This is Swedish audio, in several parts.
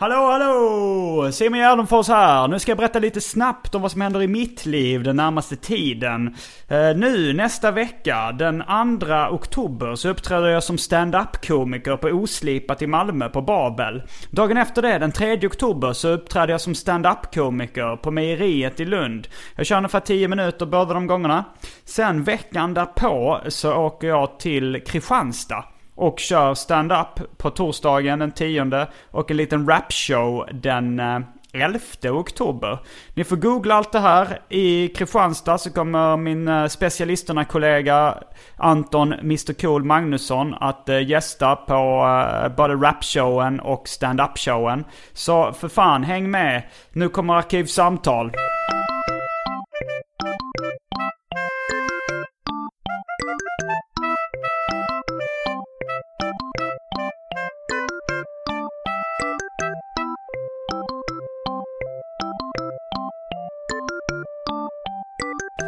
Hallå, hallå! Simon Gärdenfors här. Nu ska jag berätta lite snabbt om vad som händer i mitt liv den närmaste tiden. Eh, nu, nästa vecka, den 2 oktober, så uppträder jag som stand-up-komiker på Oslipat i Malmö på Babel. Dagen efter det, den 3 oktober, så uppträder jag som stand-up-komiker på Mejeriet i Lund. Jag kör ungefär 10 minuter båda de gångerna. Sen veckan därpå så åker jag till Kristianstad och kör stand-up på torsdagen den 10 och en liten rapshow den eh, 11 oktober. Ni får googla allt det här. I Kristianstad så kommer min eh, specialisterna-kollega Anton Mr Cool Magnusson att eh, gästa på eh, både rapshowen och stand-up-showen. Så för fan, häng med. Nu kommer Arkivsamtal.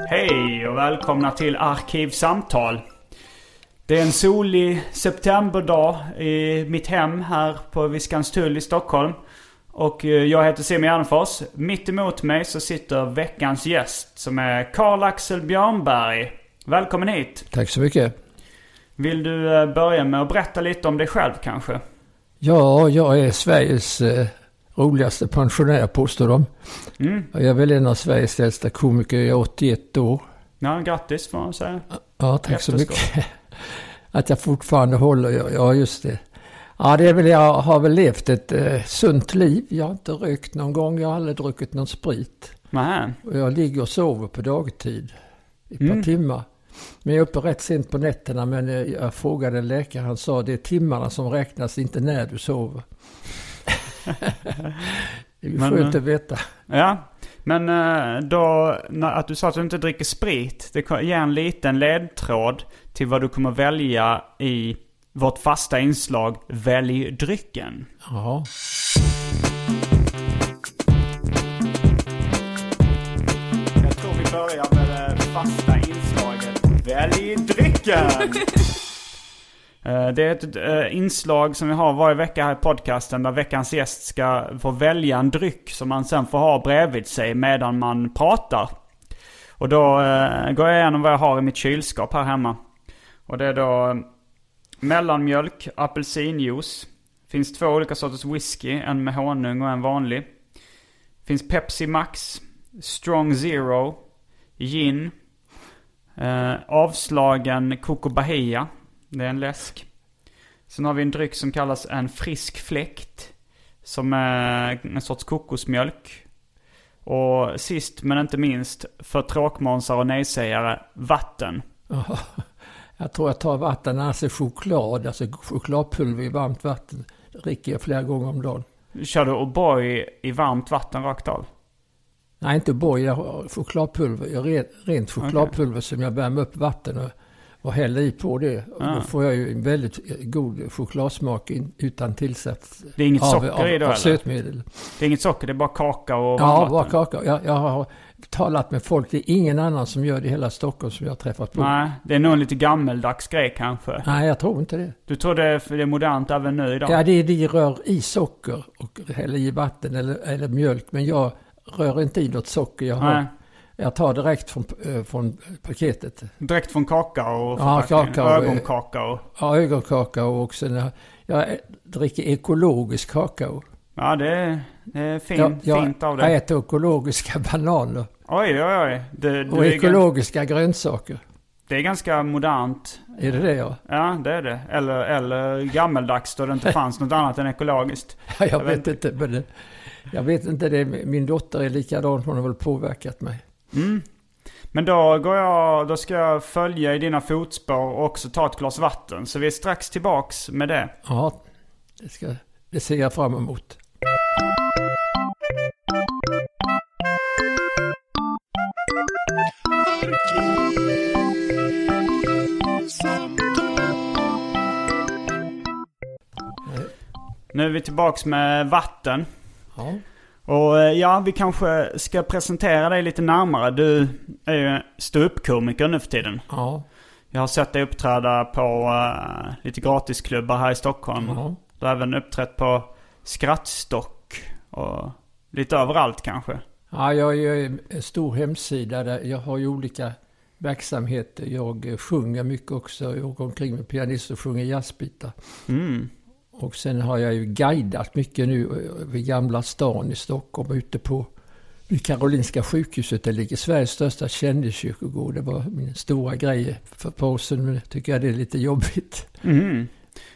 Hej och välkomna till Arkivsamtal. Det är en solig septemberdag i mitt hem här på Viskanstull i Stockholm. Och eh, jag heter Simon Gärdenfors. Mitt emot mig så sitter veckans gäst som är Karl-Axel Björnberg. Välkommen hit! Tack så mycket. Vill du eh, börja med att berätta lite om dig själv kanske? Ja, jag är Sveriges eh, roligaste pensionär påstår de. Och jag är väl en av Sveriges äldsta komiker. Jag är 81 år. Ja, grattis får man säga. Ja, tack så Efterskott. mycket. Att jag fortfarande håller. Ja, just det. Ja, det är väl, jag har väl levt ett eh, sunt liv. Jag har inte rökt någon gång. Jag har aldrig druckit någon sprit. Nähä. Och jag ligger och sover på dagtid i ett Mm. par timmar. Men jag är uppe rätt sent på nätterna. Men eh, jag frågade en läkare. Han sa det är timmarna som räknas, inte när du sover. det är ju Men, skönt eh, att veta. Ja, men eh, då, när, att du sa att du inte dricker sprit, det kan- ger en liten ledtråd till vad du kommer välja i vårt fasta inslag Välj drycken. Ja. Jag tror vi börjar med det fasta inslaget Välj drycken! Eh, Det är ett eh, inslag som vi har varje vecka här i podcasten där veckans gäst ska få välja en dryck som man sen får ha bredvid sig medan man pratar. Och då eh, går jag igenom vad jag har i mitt kylskåp här hemma. Och det är då eh, mellanmjölk, apelsinjuice. Finns två olika sorters whisky, en med honung och en vanlig. Finns Pepsi Max, Strong Zero, Gin, eh, avslagen Coco Bahia. Det är en läsk. Sen har vi en dryck som kallas en frisk fläkt. Som är en sorts kokosmjölk. Och sist men inte minst, för tråkmånsar och nejsägare, vatten. Jag tror jag tar vatten, alltså choklad, alltså chokladpulver i varmt vatten. Det dricker jag flera gånger om dagen. Kör du O'boy i varmt vatten rakt av? Nej, inte O'boy, jag har chokladpulver. Jag har re- rent chokladpulver som jag värmer upp vatten och, och häller i på det. Och Ah. Då får jag ju en väldigt eh, god chokladsmak in, utan tillsats Det är inget av, socker av, i då av eller? sötmedel. Det är inget socker, det är bara kakao och Ja, varmvatten. bara kakao. Jag, jag har talat med folk, det är ingen annan som gör det i hela Stockholm som jag har träffat på. Nej, det är nog en lite gammeldags grej kanske. Nej, jag tror inte det. Du tror det är, det är modernt även nu idag? Ja, det är de rör i socker och häller i vatten eller, eller mjölk. Men jag rör inte i något socker. Jag har Nej. Jag tar direkt från, eh, från paketet. Direkt från kakao och Ja, förpackningen. kakao. ögonkakao. Ja, ögonkakao och sen jag, jag dricker ekologisk kakao. Ja, det är, det är fin, jag, jag, fint av jag dig. äter ekologiska bananer Oj, oj, oj. Det, du och är, gan- ekologiska grönsaker. det är ganska modernt. Är det det jag? Ja, det är det. Eller, eller gammeldags då det inte fanns något annat än ekologiskt. Ja, jag vet inte. Men det, jag vet inte, det, min dotter är likadan, hon har väl påverkat mig. Men då går jag, då ska jag följa i dina fotspår och också ta ett glas vatten. Så vi är strax tillbaks med det. Ja, det, ska, det ser jag fram emot. Nu är vi tillbaks med vatten. Ja. Och eh, ja, vi kanske ska presentera dig lite närmare. Du är ju ståuppkomiker nu för tiden. Ja, Jag har sett dig uppträda på eh, lite gratisklubbar här i Stockholm. ja. Du har även uppträtt på Skrattstock och lite överallt kanske. ja jag gör ju en stor hemsida där jag har ju olika verksamheter. Jag eh, sjunger mycket också. Jag åker omkring med pianist och sjunger jazzbitar. Mm. Och sen har jag ju guidat mycket nu eh, vid Gamla stan i Stockholm, ute på vid Karolinska sjukhuset. Det ligger Sveriges största kändiskyrkogård. Det var min stora grej för ett par år sedan, men tycker jag det är lite jobbigt. Mm.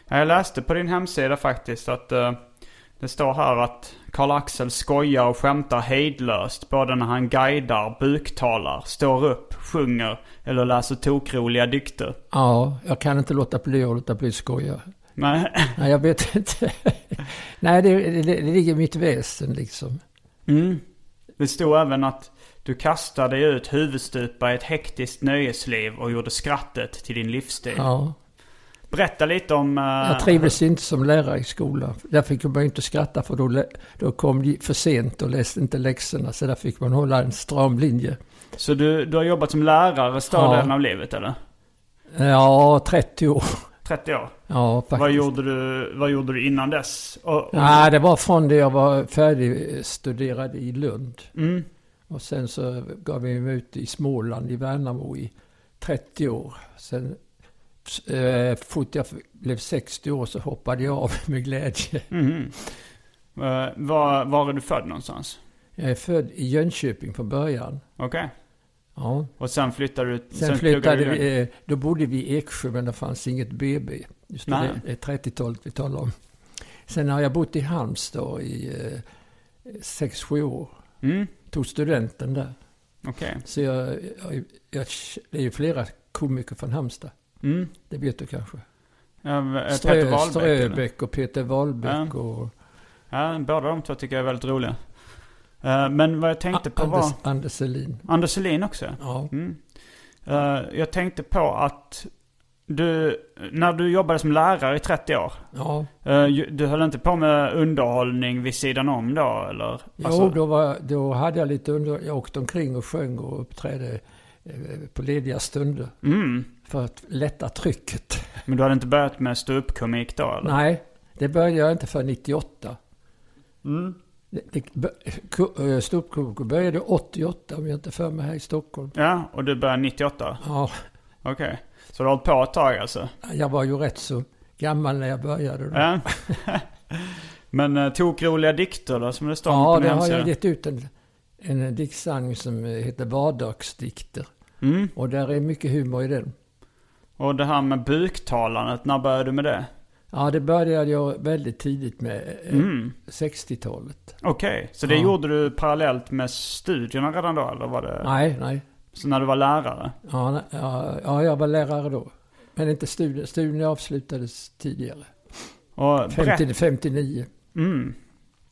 Ja, Jag läste på din hemsida faktiskt att eh, det står här att Karl-Axel skojar och skämtar hejdlöst både när han guidar, buktalar, står upp, sjunger eller läser tokroliga dikter. Ja, jag kan inte låta bli att låta bli att skoja. Nej. Nej, jag vet inte. Nej, det, det, det ligger i mitt väsen liksom. Mm. Det stod även att du kastade ut huvudstupa i ett hektiskt nöjesliv och gjorde skrattet till din livsstil. Ja. Berätta lite om... eh, Jag trivdes inte som lärare i skolan. Där fick man ju inte skratta för då, lä- då kom de för sent och läste inte läxorna. Så där fick man hålla en stram linje. Så du, du har jobbat som lärare större Ja. delen av livet eller? Ja, 30 år. 30 år? Ja, faktiskt. Vad gjorde, du, vad gjorde du innan dess? Och, och, Nej, det var från det jag var färdigstuderad i Lund. Mm. Och sen så gav vi mig ut i Småland, i Värnamo, i 30 år. Sen eh, fort jag blev 60 år så hoppade jag av med glädje. Mhm. Eh, var, var är du född någonstans? Jag är född i Jönköping från början. Okej. Ja. Och sen flyttade du... Sen, pluggade flyttade du- vi, eh, då bodde vi i Eksjö men det fanns inget BB. Just Nej. det, det är 30-talet vi talar om. Sen har jag bott i Halmstad i eh, 6-7 år. Mm. Tog studenten där. Okej. Så jag, jag, jag, det är ju flera komiker från Halmstad. Mm. Det vet du kanske? Uh, Peter Strö, Wahlbeck? eller? Ströbeck och Peter Wahlbeck Ja. och Ja, båda de två tycker jag är väldigt roliga. Eh, men vad jag tänkte på var... Ah, Anders, Anders Elin. Anders Elin också? Ja. Mm. Eh, jag tänkte på att du, när du jobbade som lärare i 30 år, ja. eh, ju- du höll inte på med underhållning vid sidan om då eller? Jo, Alltså- då, var, då hade jag lite under... Jag åkte omkring och sjöng och uppträdde eh, på lediga stunder Mm. för att lätta trycket. Men du hade inte börjat med ståuppkomik då eller? Nej, det började jag inte för 98. Mm. Det- det bör- ko- eh, Ståuppkomiker började 88 om jag inte för mig här i Stockholm. Ja, och du började 98? Ja, Okej. Så du har hållit på ett tag alltså? jag var ju rätt så gammal när jag började. Då. Ja. Men uh, tokroliga dikter då, som det står Ja, på det din har hemsida? jag gett ut en, en diktsamling som heter Vardagsdikter. Mm. Och där är mycket humor i den. Och det här med buktalandet, när började du med det? Ja, det började jag väldigt tidigt med, eh, Mm. 60-talet. Okej, så det Ja. gjorde du parallellt med studierna redan då eller var det? Nej, nej. Så när du var lärare? Ja, nej, ja, ja, jag var lärare då. Men inte studien. Studien avslutades tidigare. Och berätt, 50, 59. mm,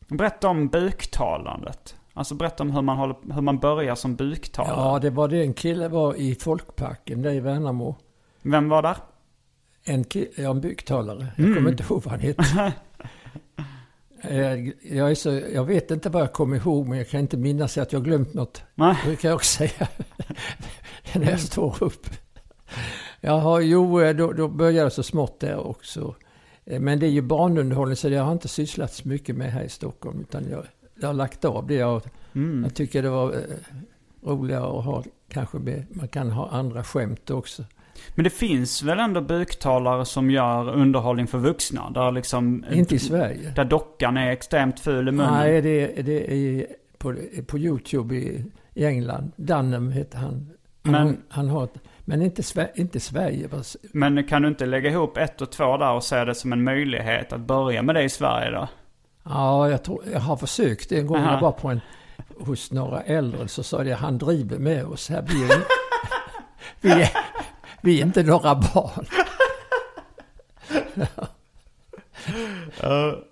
berätta om buktalandet. Alltså berätta om hur man, håller, hur man börjar som buktalare. Ja, det var det. En kille var i Folkparken där i Värnamo. Vem var där? En, ki- ja, en byggtalare. Jag kommer inte ihåg vad han hette. Eh, jag, är så, jag vet inte vad jag kommer ihåg, men jag kan inte minnas att jag glömt något. Nej. Det kan jag också säga. När jag står upp. Jaha, jo, eh, då, då började jag så smått där också. Eh, Men det är ju barnunderhållning, så det har jag inte sysslat så mycket med här i Stockholm. Utan jag, jag har lagt av det. Jag, jag tycker det var eh, roligare att ha kanske med, man kan ha andra skämt också. Men det finns väl ändå buktalare som gör underhållning för vuxna? Där liksom... Inte i Sverige. Där dockan är extremt ful i munnen. Nej, det, är- det är på, på YouTube i, i England. Dunham heter han. Men, han, Men- han har ett, men inte, Sve- inte Sverige. vad s- Men kan du inte lägga ihop ett och två där och se det som en möjlighet att börja med det i Sverige då? Ja, jag, tror, jag har försökt en gång. Aha. Jag var på en, hos några äldre så sa jag han driver med oss här. Vi är, vi är, vi är inte några barn.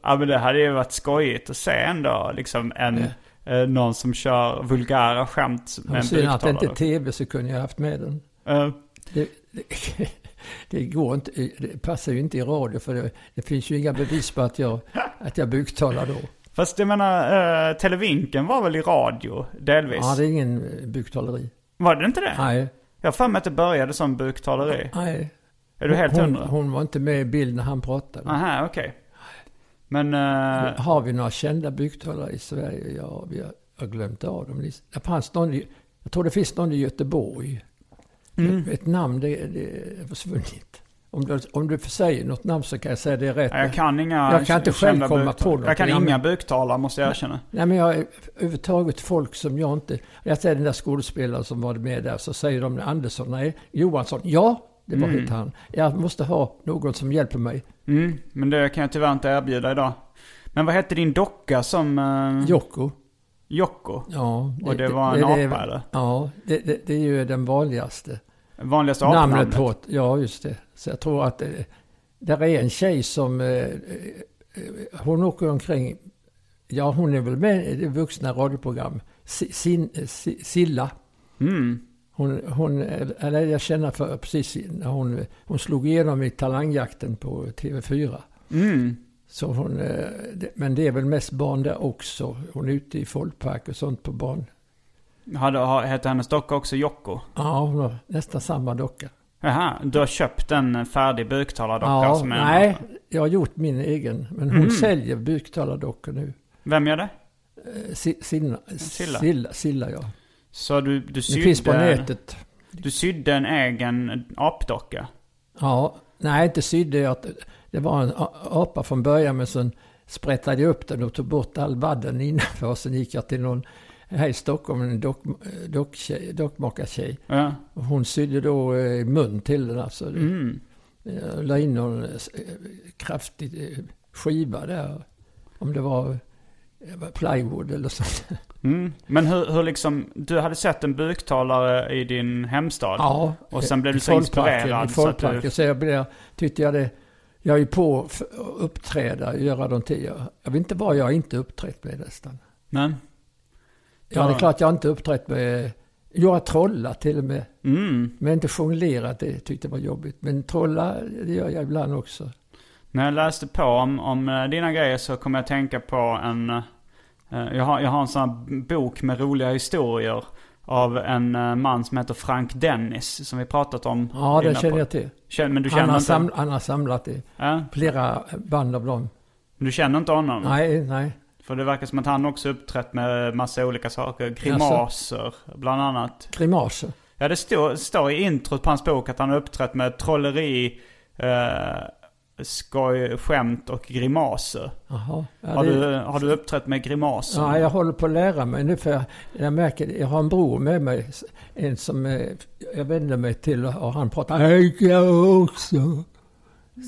Ja men det hade ju varit skojigt att se ändå liksom en, eh, någon som kör vulgära skämt med en Synd att det inte är buktalare. tv så kunde jag haft med den. Eh, Det, det, det går inte, det passar ju inte i radio för det, det finns ju inga bevis på att jag, att jag buktalar då. Fast jag menar, eh, Televinken var väl i radio delvis? Ja, det är ingen eh, buktaleri. Var det inte det? Nej, Jag har för mig att det började som buktaleri. nej. Är du helt hon, hundra? hon var inte med i bild när han pratade. Aha, okej. Men... eh, Har vi några kända buktalare i Sverige? Ja, vi har, jag har glömt av dem. Det fanns någon i, jag tror det finns någon i Göteborg. Mm. Ett namn, det, det är försvunnit. Om du, om du säger något namn så kan jag säga det är rätt. ja, jag kan inga Jag kan inte själv kända komma buktalare. på något. Jag kan Ja, inga men- buktalare måste jag erkänna. Nej, men jag, överhuvudtaget folk som jag inte... Jag säger den där skådespelaren som var med där, så säger de Andersson, nej, Johansson, ja, det var inte han. Jag måste ha någon som hjälper mig. Mm, men det kan jag tyvärr inte erbjuda idag. Men vad hette din docka som... eh, Jocko. Jocko? Ja, Och det var en apa, eller? Ja, det, det, det är ju den vanligaste. Vanligaste Namnet apnamnet? på ett- Ja, just det. Så jag tror att eh, där är en tjej som... eh, eh, Hon åker omkring... Ja, hon är väl med i det vuxna radioprogram. Si- Sin, eh, Si- Silla. Hon, hon, eh, eller jag känner för precis när hon, hon slog igenom i talangjakten på TV4. Så hon, eh, det- men det är väl mest barn där också. Hon är ute i folkpark och sånt på barn. Hade, ha- hette hennes docka också Jocko? Ja, hon har nästan samma docka. Jaha, du har köpt en färdig buktalardocka Ja, som Mm. är... nej, jag har gjort min egen. Men hon säljer buktalardockor nu. Vem gör det? Eh, Si- Silla, Silla. Silla. Silla, ja. Så du, du Det finns på sydde... nätet. Du sydde en egen apdocka? Ja, nej, inte sydde jag. Det var en a- apa från början, men sen sprättade jag upp den och tog bort all vadden innanför. Och sen gick jag till någon här i Stockholm, en dock, docktjej- dockmakartjej. Ja. Och hon sydde då eh, mun till den alltså. Mm. Jag la in någon eh, kraftig eh, skiva där. Om det var eh, plywood eller sånt. Mm. Men hur, hur liksom... Du hade sett en buktalare i din hemstad? Ja. Och sen blev du i så folkparken, inspirerad I så att du- folkparken. Så, jag blev, tyckte jag det... Jag är ju på f- att uppträda, göra de tio. Jag vet inte vad jag inte uppträtt med nästan. Men? Ja, det är klart jag har inte uppträtt med... Jag har trollat till och med. Mm. Men inte jonglerat, det tyckte jag var jobbigt. Men trolla, det gör jag ibland också. När jag läste på om, om eh, dina grejer så kom jag att tänka på en... eh, Jag har, jag har en sån här bok med roliga historier av en eh, man som heter Frank Dennis som vi pratat om. Ja, det innan känner på- jag till. Känner- Men du Han känner, har, inte, saml, han har samlat i ja, flera band av dem. Mm. du känner inte honom? Nej, nej. För det verkar som att han också uppträtt med massa olika saker. Grimaser, bland annat. Grimaser. Ja, det står, står i introt på hans bok att han har uppträtt med trolleri, eh, skoj, skämt och grimaser. Jaha. Ja, Har det- du, har du uppträtt med grimaser? Ja, jag håller på att lära mig nu för jag, jag märker det. Jag har en bror med mig. En som eh, jag vänder mig till och han pratar "Hej, jag också.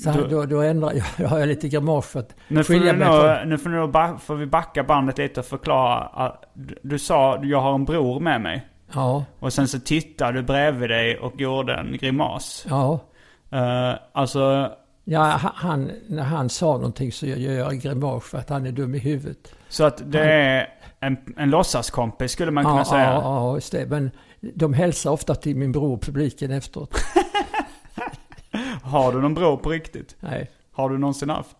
Så Du- då, då, ändrar jag, då har jag lite grimas för att Nu får, skilja du mig nog, nu får, du nog ba- får vi backa bandet lite och förklara. Att du, du sa jag har en bror med mig. från... Ja, Och sen så tittade du bredvid dig och gjorde en grimas. ja. Eh, alltså, ja ha- han, när han sa någonting så gör jag en grimas för att han är dum i huvudet. så att det är en, en låtsaskompis skulle man kunna ja, säga. ja, ja, just det. Men de hälsar ofta till min bror, publiken efteråt. Har du någon bror på riktigt? Nej, Har du någonsin haft?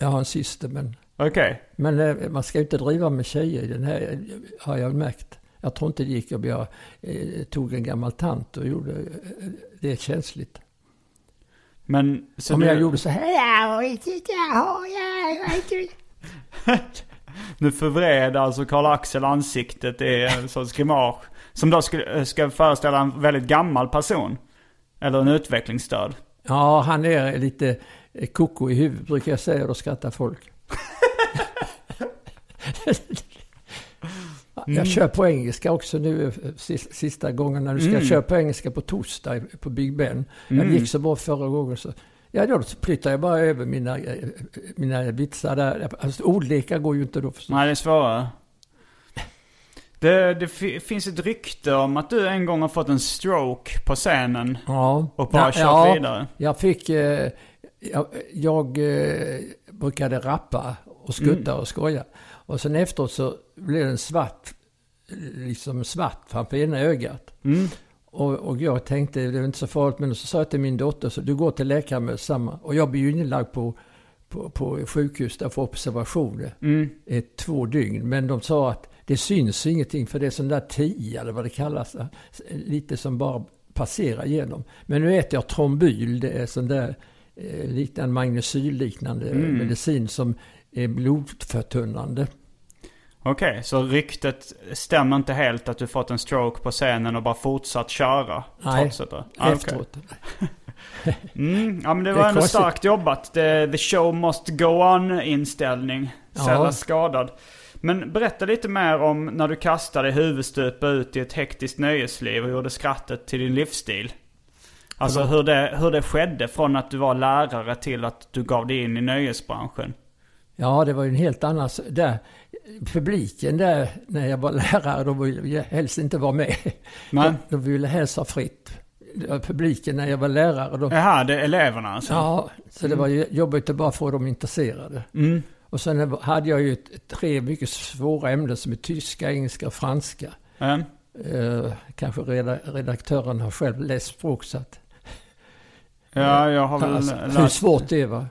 jag har en syster men... Okej. Men eh, man ska ju inte driva med tjejer i den här, eh, har jag märkt. Jag tror inte det gick om jag eh, tog en gammal tant och gjorde eh, det är känsligt. Men så om nu, jag gjorde så här, nu förvred alltså Karl-Axel ansiktet i en sorts grimas. Som då skulle, ska föreställa en väldigt gammal person. Eller en utvecklingsstörd. Ja, han är lite eh, koko i huvudet brukar jag säga, och då skrattar folk. Jag kör på engelska också nu sis- sista gången när du ska köra på engelska på torsdag på Big Ben. Jag gick så bra förra gången så Ja, då flyttar jag bara över mina, eh, mina vitsar där. Alltså, ordlekar går ju inte då förstås. Nej, det är svårare. Det, det fi- finns ett rykte om att du en gång har fått en stroke på scenen. Ja. Och bara Ja, kört ja, vidare. Jag fick... Eh, jag jag eh, brukade rappa och skutta Mm. och skoja. Och sen efteråt så blev den svart, liksom svart framför ena ögat. Och, och jag tänkte, det är inte så farligt, men så sa jag till min dotter, så du går till läkaren med samma. Och jag blev ju inlagd på, på, på sjukhus där för observationer Mm. i två dygn. Men de sa att det syns ingenting för det är sån där tia eller vad det kallas. eh, Lite som bara passerar igenom. Men nu äter jag trombyl, det är sån där eh, liknande magnesylliknande Mm. medicin som är blodförtunnande. Okej, så ryktet stämmer inte helt att du fått en stroke på scenen och bara fortsatt köra? Nej, trots att det- Ah, okej. Efteråt. Mm, ja men det Det var är ändå konstigt. starkt jobbat. The, the show must go on inställning. Sällan Ja. skadad. Men berätta lite mer om när du kastade huvudstupa ut i ett hektiskt nöjesliv och gjorde skrattet till din livsstil. Alltså hur det, hur det skedde från att du var lärare till att du gav dig in i nöjesbranschen. Ja, det var ju en helt annan... s- Där, publiken där, när jag var lärare, de ville ju helst inte vara med. Nej. De, de ville helst ha fritt. Det var Publiken när jag var lärare, de, Jaha, det är eleverna alltså? Ja, så det var ju Mm. jobbigt att bara få dem intresserade. Och sen hade jag ju ett- tre mycket svåra ämnen som är tyska, engelska och franska. Mm. Eh, kanske reda- redaktören har själv läst språk så att... Ja, jag har väl Alltså, hur lärt... svårt det var.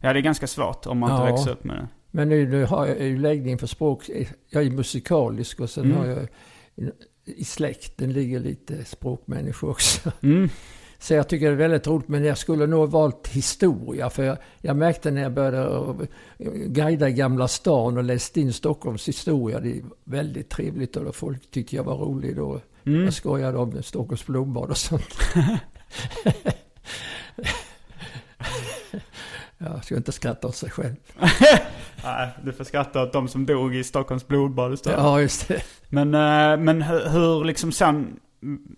Ja, det är ganska svårt om man Ja. inte växer upp med det. Men nu, nu har jag ju läggning för språk. Jag är musikalisk och sen har jag i släkten ligger lite språkmänniskor också. Så jag tycker det är väldigt roligt, men jag skulle nog ha valt historia. För jag, jag märkte när jag började eh, guida i Gamla stan och läste in Stockholms historia. Det är väldigt trevligt och folk tyckte jag var rolig då. Jag skojade om Stockholms blodbad och sånt. Jag ska inte skratta åt sig själv. Nej, du får skratta åt de som dog i Stockholms blodbad istället. Ja, just det. Men, eh, men hur, hur liksom sen,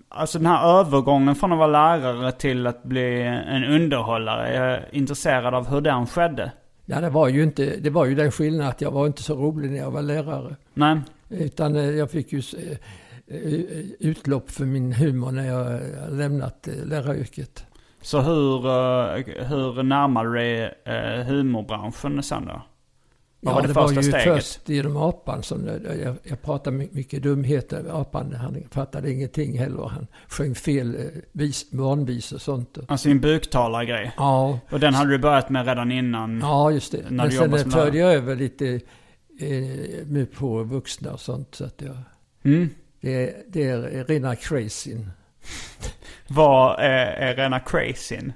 alltså den här övergången från att vara lärare till att bli en underhållare. Jag är intresserad av hur den skedde. Ja, det var ju inte, det var ju den skillnaden att jag var inte så rolig när jag var lärare. Nej, Utan eh, jag fick ju eh, eh, utlopp för min humor när jag eh, lämnat eh, läraryrket. så hur, eh, hur närmade du dig eh, humorbranschen sen då? Vad var det, första ju steget? först genom apan som eh, jag, jag, jag pratade my- mycket dumheter. Apan, han fattade ingenting heller. Han sjöng fel eh, vis, barnvisor och sånt. Alltså din buktalargrej. Ja, Och den hade du börjat med redan innan. ja just det. När Men du jobbade sen eh, som förde jag över lite eh, nu på vuxna och sånt. Så att jag, Mm. det, är- det är rena crazyn. Vad är, är rena crazyn?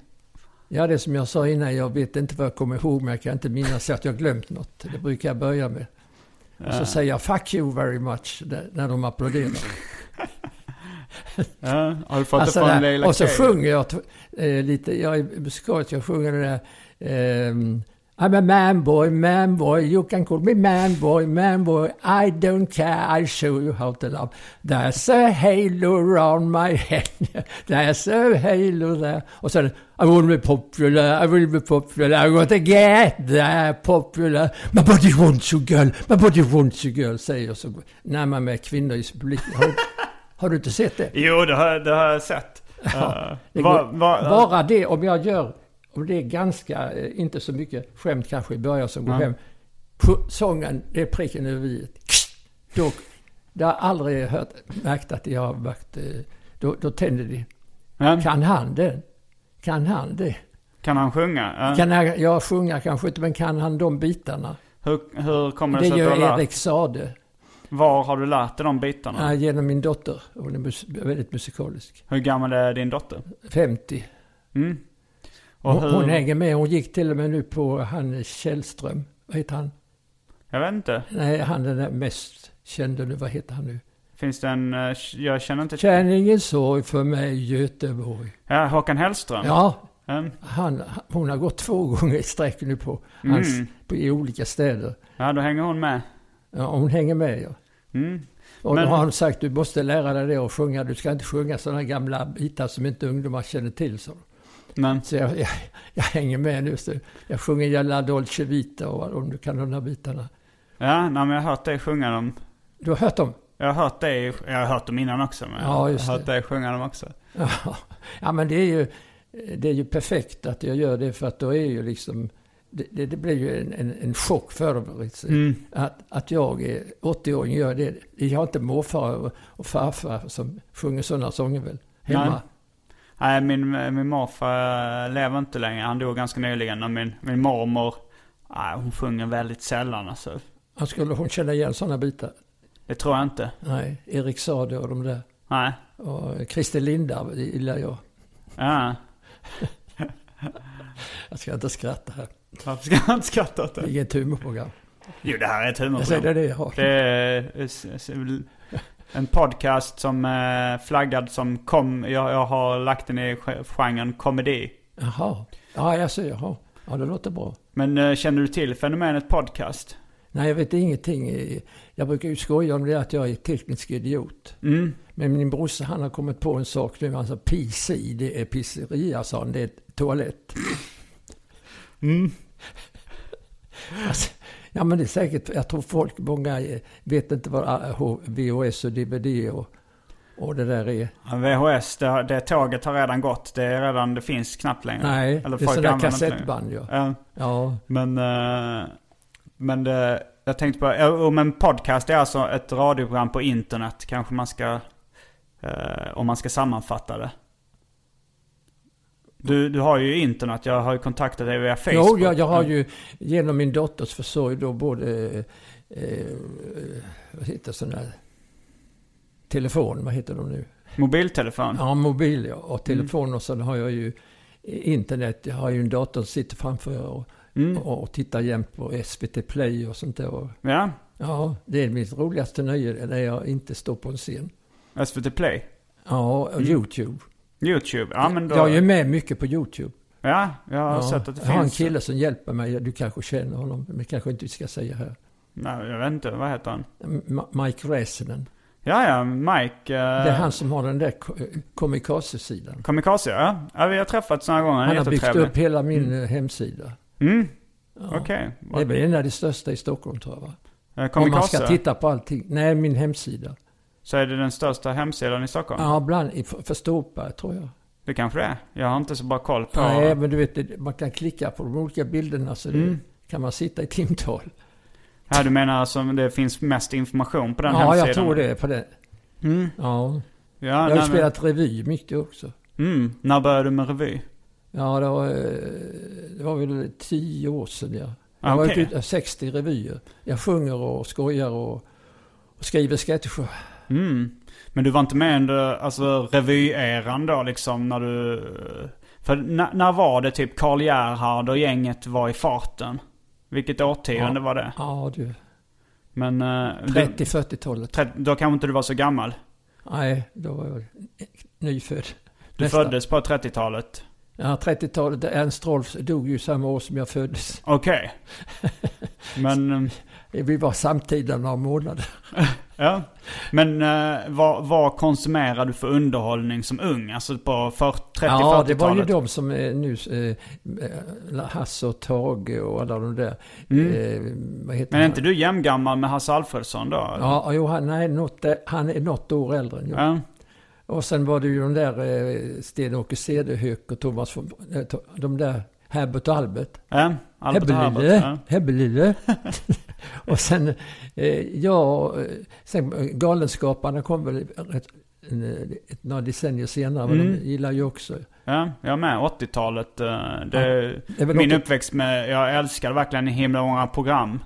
Ja, det som jag sa innan, jag vet inte vad jag kommer ihåg, men jag kan inte minnas att jag glömt något. Det brukar jag börja med. Och så säger jag “fuck you very much” där- när de applåderar. Ja, har du fått Alltså det från där- Leila och så Kay? sjunger jag t- eh, lite, jag är musikalisk, jag sjunger det där ehm, I'm a man boy, man boy, you can call me man boy, man boy, I don't care, I'll show you how to love. There's a halo around my head, there's a halo there. Och sen I will be popular, I will be popular, I want to get there popular. My body wants you girl, my body wants you girl, säger jag så närmar mig kvinnor i publiken. Har, har du inte sett det? Jo, det har, det har jag sett. Eh, Det va- går- va- bara det, om jag gör, om det är ganska, eh, inte så mycket skämt kanske i början som går hem. Pu- Sången, det är pricken över i. Då, det har jag aldrig hört, märkt att jag har varit, eh, då, då tänder det. Ja, Kan han det? Kan han det? kan han sjunga? Ja. Kan jag, jag sjunga kanske inte, men kan han de bitarna? Hur, hur kommer det Det sig att du har gör lärt Erik Sade, Var har du lärt dig de bitarna? eh, genom min dotter. Hon är mus- väldigt musikalisk. Hur gammal är din dotter? 50. Mm. Och Hon, hur, hon hänger med. Hon gick till och med nu på eh, han Källström. Vad heter han? Jag vet inte. Nej, han den där mest kände nu, vad heter han nu? Finns det en... eh, k- Jag känner inte... Kärningen sorg för mig Göteborg. Ja, Håkan Hellström? Ja, Mm. han, hon har gått två gånger i sträck nu på, hans, på i olika städer. Ja, då hänger hon med. Ja, hon hänger med ja. Mm. Och Men- då har hon sagt du måste lära dig det och sjunga. Du ska inte sjunga sådana gamla bitar som inte ungdomar känner till. Så, Men, så jag, jag, jag hänger med nu. Så jag sjunger Jalla Dolce Vita och om du kan de där bitarna. ja, nej, men jag har hört dig sjunga dem. Du har hört dem? Jag har hört dig, jag har hört dem innan också. Men Ja, jag just har hört dig sjunga dem också. Ja, ja men det är, ju, det är ju perfekt att jag gör det för att då är ju liksom det, det, det blir ju en, en, en chock för dem. liksom. Mm. Att, att jag, är 80-åring, gör det. Jag har inte morfar och, och farfar som sjunger sådana sånger väl? Hemma. Nej, min, eh, min morfar eh, lever inte längre. Han dog ganska nyligen. Och min, min mormor, nej, hon sjunger väldigt sällan alltså. Han skulle hon känna igen sådana bitar? Det tror jag inte. Nej, Erik Saade och de där. Nej. Och Christer Lindarw det gillar jag. Ja. Jag ska inte skratta här. Varför ska han inte skratta åt Det är det? inget humorprogram. Jo, det här är ett Jag säger det, är humorprogram. det jag har. Det är eh, s- s- en podcast som är flaggad som kom... Jag, jag har lagt den i ge- genren komedi. Jaha. Ja, jag säger jaha. Ja, det låter bra. Men eh, känner du till fenomenet podcast? Nej, jag vet ingenting. Jag brukar ju skoja om det att jag är teknisk idiot. Mm. Men min brorsa han har kommit på en sak nu. Han sa PC, det är pizzeria, sa han. Det är toalett. Alltså, ja, men det är säkert. Jag tror folk, många eh, vet inte vad AH, VHS och DVD och, och det där är. Ja, VHS, det, det tåget har redan gått. Det, är redan, det finns knappt längre. Nej, det är sådana använder inte längre. kassettband ja. Ja, Ja, men eh, men det, jag tänkte på, ja, om en podcast är alltså ett radioprogram på internet kanske man ska, eh, om man ska sammanfatta det. Du, du har ju internet, jag har ju kontaktat dig via Facebook. Jo, jag, jag har ju genom min dotters försorg då både, eh, eh, vad heter sån där, telefon, vad heter de nu? Mobiltelefon. Ja, mobil ja, och Mm. telefon och sen har jag ju internet, jag har ju en dator som sitter framför och, Mm. och, och tittar jämt på SVT Play och sånt där. Och, Ja. ja, det är mitt roligaste nöje när jag inte står på en scen. SVT Play. Ja, och YouTube. YouTube. Mm. Ja, men då, Jag är ju med mycket på YouTube. ja, jag har sett att det jag har en finns. kille som hjälper mig, du kanske känner honom, men kanske inte vi ska säga här. Nej, jag vet inte, vad heter han? Ma- Mike Räsänen. Ja, ja, Mike. eh, Det är han som har den där ko- komikaze-sidan. Kamikaze, ja. ja. Vi har träffats några gånger, han Han är har byggt jättetrevlig. upp hela min eh, hemsida. Mm, Ja. okej. Det är väl en av de största i Stockholm tror jag va? Eh, Om man ska Kamikaze, titta på allting. Nej, min hemsida. så är det den största hemsidan i Stockholm. Ja, bland, i- för för Ståpa tror jag. Det kanske det är. Jag har inte så bra koll på... Nej, men du vet, det- man kan klicka på de olika bilderna så det, Mm. kan man sitta i timtal. Ja, du menar som det finns mest information på den Ja, hemsidan? jag tror det. På det. Mm. Ja. Ja, Jag har nej, ju men- spelat revy mycket också. Mm. När började du med revy? Ja, det var, eh, det var väl tio år sedan. Ja. Jag Ah, har okej. varit ute 60 revyer. Jag sjunger och skojar och, och skriver sketcher. Mm. Men du var inte med under alltså, revyeran då liksom när du... För när, när var det typ Karl Gerhard och gänget var i farten? Vilket årtionde Ja. var det? Ja, du. Men... eh, du- 30-40-talet. trett- då kanske inte du var så gammal? Nej, då var jag nyfödd. Du Nästan. föddes på 30-talet? Ja, 30-talet. Ernst Rolfs dog ju samma år som jag föddes. Okej. Men, eh, Vi var samtida några månader. ja. Men eh, vad, vad konsumerar du för underhållning som ung? Alltså på för- 30-40-talet? Ja, det var ju de som eh, nu, eh, Hasse och Tage och alla de där. Mm. Eh, vad heter Men är inte du jämngammal med Hasse Alfredsson då? Ja, jo, han, nej, något, där- han är något år äldre än jag. Ja. och Och sen var det ju de där eh, Sten-Åke Cederhök och Thomas von, eh, to- de där Herbert och Albert. ja. Albert Herbert. Hebbelille, Ja. Hebbelille. och sen, eh, ja, eh, sen eh, Galenskaparna kom väl rätt, en, eh, ett, några decennier senare, men Mm. de gillar ju också. Ja, jag är med. 80-talet. eh, Det, Det är väl min åttio- uppväxt med, jag älskade verkligen himla många program.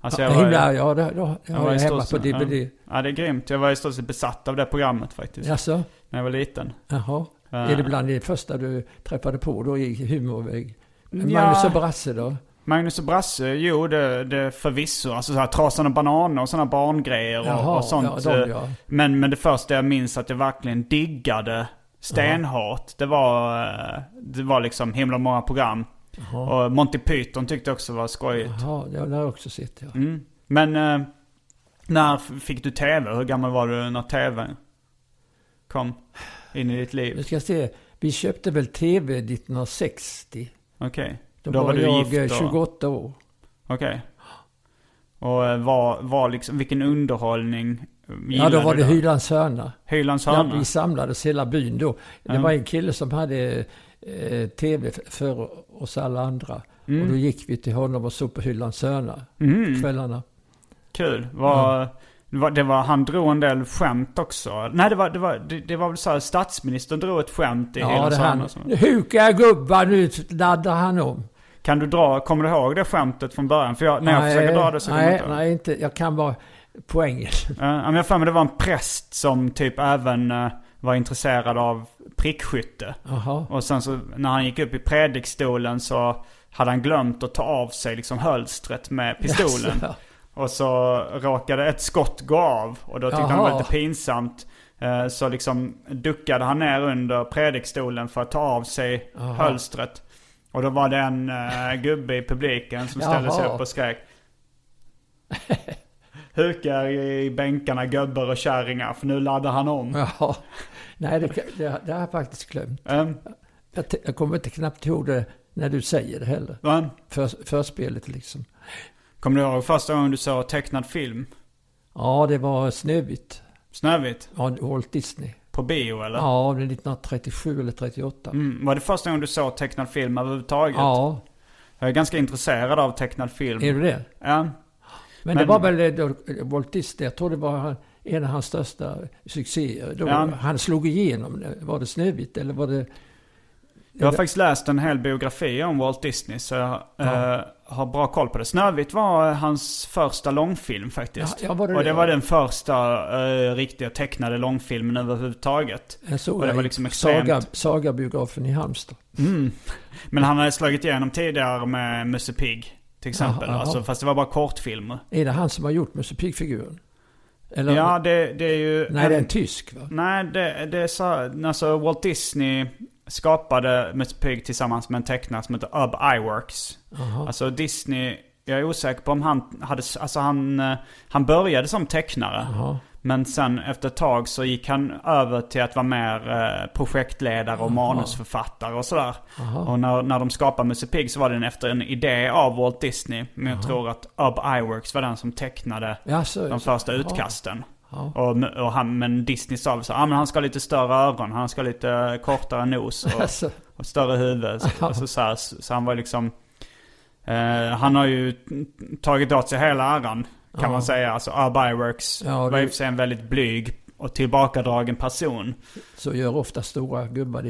Alltså Ja, jag var, himla, ja, det, det, det jag har var jag i hemma på stort- DVD. Ja. ja, det är grymt. Jag var i stort sett besatt av det programmet faktiskt. Jaså? När jag var liten. Jaha. Ja. Är det bland det första du träffade på då i humorväg? Ja. Magnus och Brasse då? Magnus och Brasse, jo det, det förvisso. Alltså så här Trasan och Bananer och sådana barngrejer och, Jaha, och sånt. eh, ja, de, ja. Men, men det första jag minns att jag verkligen diggade stenhårt. Det var, eh, det var liksom himla många program. Och Monty Python tyckte jag också var skojigt. Jaha, det har jag också sett ja. Men eh, när f- fick du tv? Hur gammal var du när tvn kom in i ditt Nu liv? ska jag se. Vi köpte väl TV 1960. Okej. Då, Då var du jag gift eh, då? 28 år. Okej. Och eh, var, var liksom, vilken underhållning Ja, då var det Hylands Hylands hörna. Hylands Ja, hörna? vi samlades hela byn då. Det var en kille som hade eh, tv f- för oss alla andra. Mm. Och då gick vi till honom och såg på Hylands hörna på kvällarna. Kul. Var, det var, det var, han drog en del skämt också. Nej, det var, det var, det, det var väl så här, statsministern drog ett skämt i Ja, det Hylands hörna. han. och sånt. Nu hukar jag gubbar, nu laddar han om. Kan du dra, kommer du ihåg det skämtet från början? För jag, när jag försöker dra det så kommer jag nej, inte ihåg. nej, inte. Jag kan bara poängen. Eh, ja, men jag har för mig det var en präst som typ även eh, var intresserad av prickskytte. Jaha. Och sen så när han gick upp i predikstolen så hade han glömt att ta av sig liksom hölstret med pistolen. Jaså. Och så råkade ett skott gå av och då tyckte han det var Jaha. lite pinsamt. Eh, Så liksom duckade han ner under predikstolen för att ta av sig hölstret. Och då var det en eh, gubbe i publiken som ställde sig Jaha. upp och skrek. Hukar i bänkarna gubbar och kärringar för nu laddar han om. Jaha. Nej, det, kan- det, det har jag faktiskt glömt. Ehm, Jag, t- jag kommer inte knappt ihåg det när du säger det heller. va? För, förspelet liksom. Kommer du ihåg första gången du såg tecknad film? Ja, det var Snövit. Snövit? Ja, Walt Disney. På bio eller? Ja, det är 1937 eller 38. Mm, var det första gången du såg tecknad film överhuvudtaget? Ja, Jag är ganska intresserad av tecknad film. är du det? Ja. Men, Men- det var väl eh, då- Walt Disney, jag tror det var han, en av hans största succéer. Då, Ja. Han slog igenom, det. var det Snövit eller var det... Jag har faktiskt läst en hel biografi om Walt Disney så jag eh, har bra koll på det. Snövit var eh, hans första långfilm faktiskt. Ja, ja, var det och det det? var den första eh, riktiga tecknade långfilmen överhuvudtaget. Jag såg Och det jag var i liksom extremt. saga, Sagabiografen i Halmstad. Men han hade slagit igenom tidigare med Musse Pig till exempel. Ja, ja. Alltså, fast det var bara kortfilmer. Är det han som har gjort Musse Pigg-figuren? Eller? Ja, det, det Mm. är ju... nej, det är en tysk va? Nej, det, det är så, alltså Walt Disney skapade Musse Pig tillsammans med en tecknare som heter Ub Iwerks. Alltså Disney, jag är osäker på om han hade, alltså han, eh, han började som tecknare. Men sen efter ett tag så gick han över till att vara mer eh, projektledare och manusförfattare och sådär. Och när, när de skapade Musse Pig så var den efter en idé av Walt Disney. Men jag tror att Ub Iwerks var den som tecknade Ja, så, de så- första ja. utkasten. Och, och han, men Disney sa väl så, ah, men han ska ha lite större öron, han ska ha lite eh, kortare nos och, Alltså. och större huvud. Så, alltså, så, här, så, så han var liksom, eh, han har ju tagit åt sig hela äran kan man säga. Alltså Arbyworks Ja, var i det- och för sig en väldigt blyg och tillbakadragen person. Så gör ofta stora gubbar, det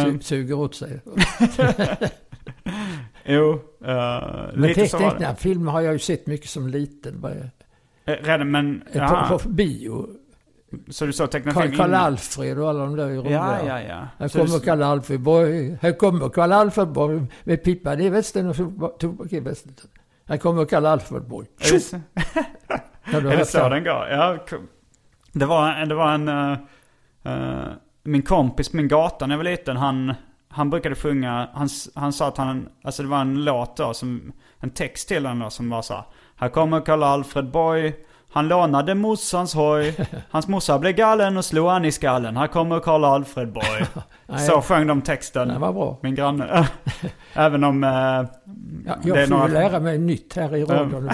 su- Mm. suger åt sig. Jo, eh, Men lite te- så var det. tecknad film har jag ju sett mycket som liten. Bara, Eh, Redan, men, på, aha, på bio. så du såg tecknad film Karl, Karl innan? Alfred och alla de där roliga. Ja, ja, ja. Här Så du- kommer Karl Alfred Borg. Här kommer Karl Alfred Borg med pipan i västen och toba- tobak i västen. Här kommer Karl Alfred Borg. Är det så- Har du Är det hört så den går? Ja, cool. det var, det var en... eh, eh, min kompis på min gata när jag var liten, han, han brukade sjunga, han, s- han sa att han, alltså det var en låt då, som, en text till den då som var så här, här kommer Karl Alfred Boy, han lånade morsans hoj, hans morsa blev gallen och slog han i skallen, här kommer Karl Alfred Boy. så sjöng de texten. Den var bra. Min granne. Även om eh, Ja, Det är jag får några- ju lära mig nytt här i radion.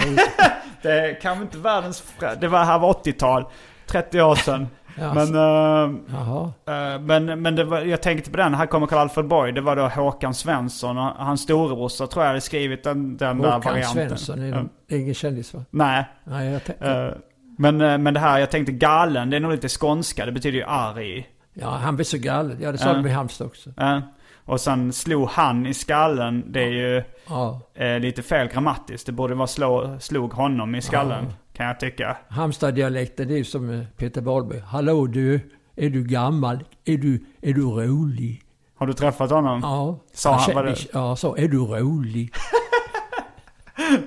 Det är kanske inte världens... frä- Det var här var 80-tal, 30 år sedan. Men, eh, Jaha. eh, men, men det var, jag tänkte på den, här kommer Karl Alfred Borg. Det var då Håkan Svensson, och hans storebrorsa tror jag hade skrivit den, den där Håkan varianten. Svensson är Ja. mm. ingen kändis va? Nej. Nej, jag tänkte... eh, men, eh, men det här, jag tänkte galen, det är nog lite skånska, det betyder ju arg. Ja, han blev så galen. Ja, det sa Ja. de i Halmstad också. Eh, och sen slog han i skallen, det är ju Ja. eh, lite fel grammatiskt. Det borde vara slå, slog honom i skallen, kan jag tycka. Halmstaddialekten, det är ju som eh, Peter Wahlberg. Hallå du, är du gammal? Är du, är du rolig? Har du träffat honom? Ja. Sa han vad kände- det- Ja, sa är du rolig?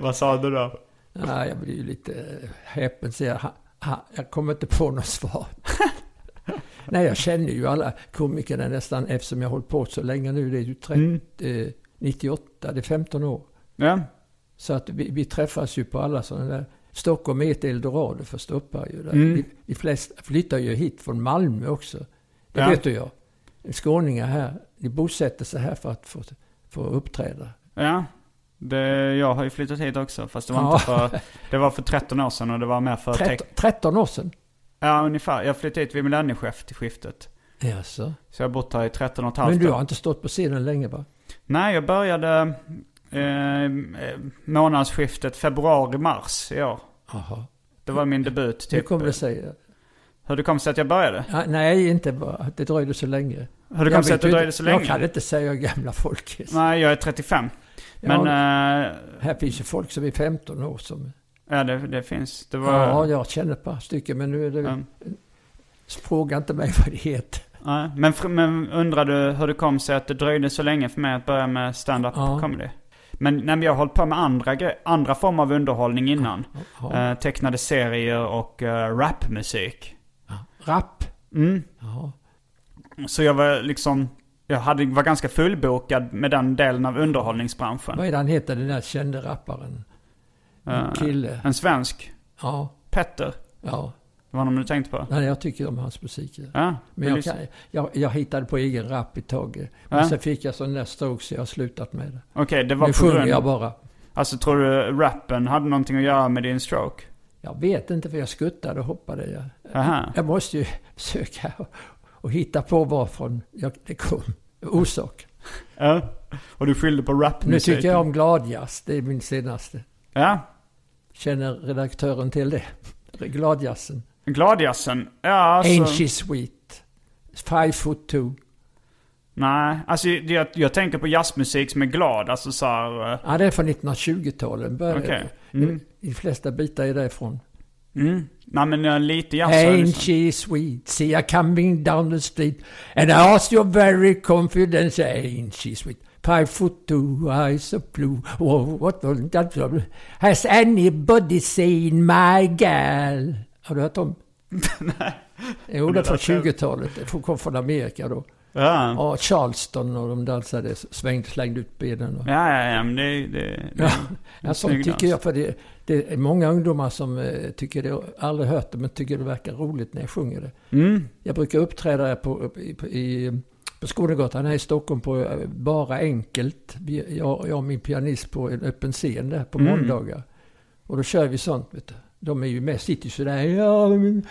Vad sa du då? Ja, jag blir ju lite eh, häpen så jag, ha- ha- jag kommer inte på något svar. Nej, jag känner ju alla komikerna nästan eftersom jag har hållit på så länge nu. Det är ju 30, Mm. eh, 98, det är 15 år. Ja. Så att vi, vi träffas ju på alla sådana där. Stockholm är ett eldorado för stoppar ju. Där. Mm. De, de flesta flyttar ju hit från Malmö också. Det Ja. vet du jag. Skåningar här, de bosätter sig här för att få, få uppträda. ja. Det, jag har ju flyttat hit också. Fast det var Ja. inte för... Det var för 13 år sedan och det var mer för... Tretton- 13 år sedan. ja, ungefär. Jag flyttade hit vid millennieskiftet. Jaså. Så jag har bott här i 13 och ett halvt Men du år. har inte stått på scenen länge va? Nej, jag började eh, eh, månadsskiftet februari-mars i år. Jaha. Det var min debut. Typ. Hur kommer det sig? Hur det kom sig att jag började? Ja, nej, inte bara att det dröjde så länge. Hur det Jag kom sig vet att det ju dröjde inte- så länge? Jag kan inte säga hur gamla folk är. Nej, jag är 35. Men, eh, ja, ja, här finns ju folk som är 15 år som... ja det, det finns. Det var... Ja, jag känner ett par stycken men nu är det... Ja. Fråga inte mig vad det heter. Nej, men, fr- men undrar du hur det kom sig att det dröjde så länge för mig att börja med stand-up Ja. comedy? Men, nej, men jag har hållit på med andra, gre- andra former av underhållning innan. Ja. Eh, tecknade serier och eh, rapmusik. Rapp. Mm. Ja. Så jag var liksom, jag hade, var ganska fullbokad med den delen av underhållningsbranschen. Vad är det han heter, den där kände rapparen? Eh, En kille. en svensk, Ja, Petter. ja. Det var någon du tänkte på? Nej, jag tycker om hans musik. ja. Ja, Men vill jag, du- kan, jag, jag hittade på egen rap ett tag. Men Ja. sen fick jag sån där stroke så jag har slutat med det. Okej, det var Nu på sjunger jag grund... bara. Alltså tror du rappen hade någonting att göra med din stroke? Jag vet inte för jag skuttade och hoppade. Jag, Aha. jag måste ju försöka och, och hitta på varifrån jag, det kom. Orsak. Ja. Och du skyllde på Nu rapmusik? tycker jag om gladjazz. Det är min senaste. Ja. Känner redaktören till det? Gladjazzen. Gladjazzen? Ja, alltså... Ain't she sweet? Five foot two. Nej, alltså jag, jag tänker på jazzmusik som är glad. Alltså så här, eh, Ja, det är från 1920-talet. Började- Okej. Mm. De flesta bitar är därifrån. Mm. Nej men eh, lite jazz har jag Ain't lyssnat. she sweet? See her coming down the street. And I ask you very confident. Ain't she sweet? Five foot two, eyes so blue. Whoa, what the... that- that- Has anybody seen my gal? Har du hört om? Nej. Jo, det är från 20-talet. Det kom från Amerika då. Ja. Ja, Charleston och de dansade, svängde, slängde ut benen. Och... Ja, ja, ja, men det, det, det Ja, en ja snygg sånt tycker dans. jag. För det, det är många ungdomar som eh, tycker det, aldrig hört det, men tycker det verkar roligt när jag sjunger det. Mm. Jag brukar uppträda på, på, i, på Skånegatan här i Stockholm på eh, Bara Enkelt. Vi- Jag, jag och min pianist på en öppen scen där Mm. på måndagar. Och då kör vi sånt, vet du. De är ju med, sitter ju sådär. Ja, min,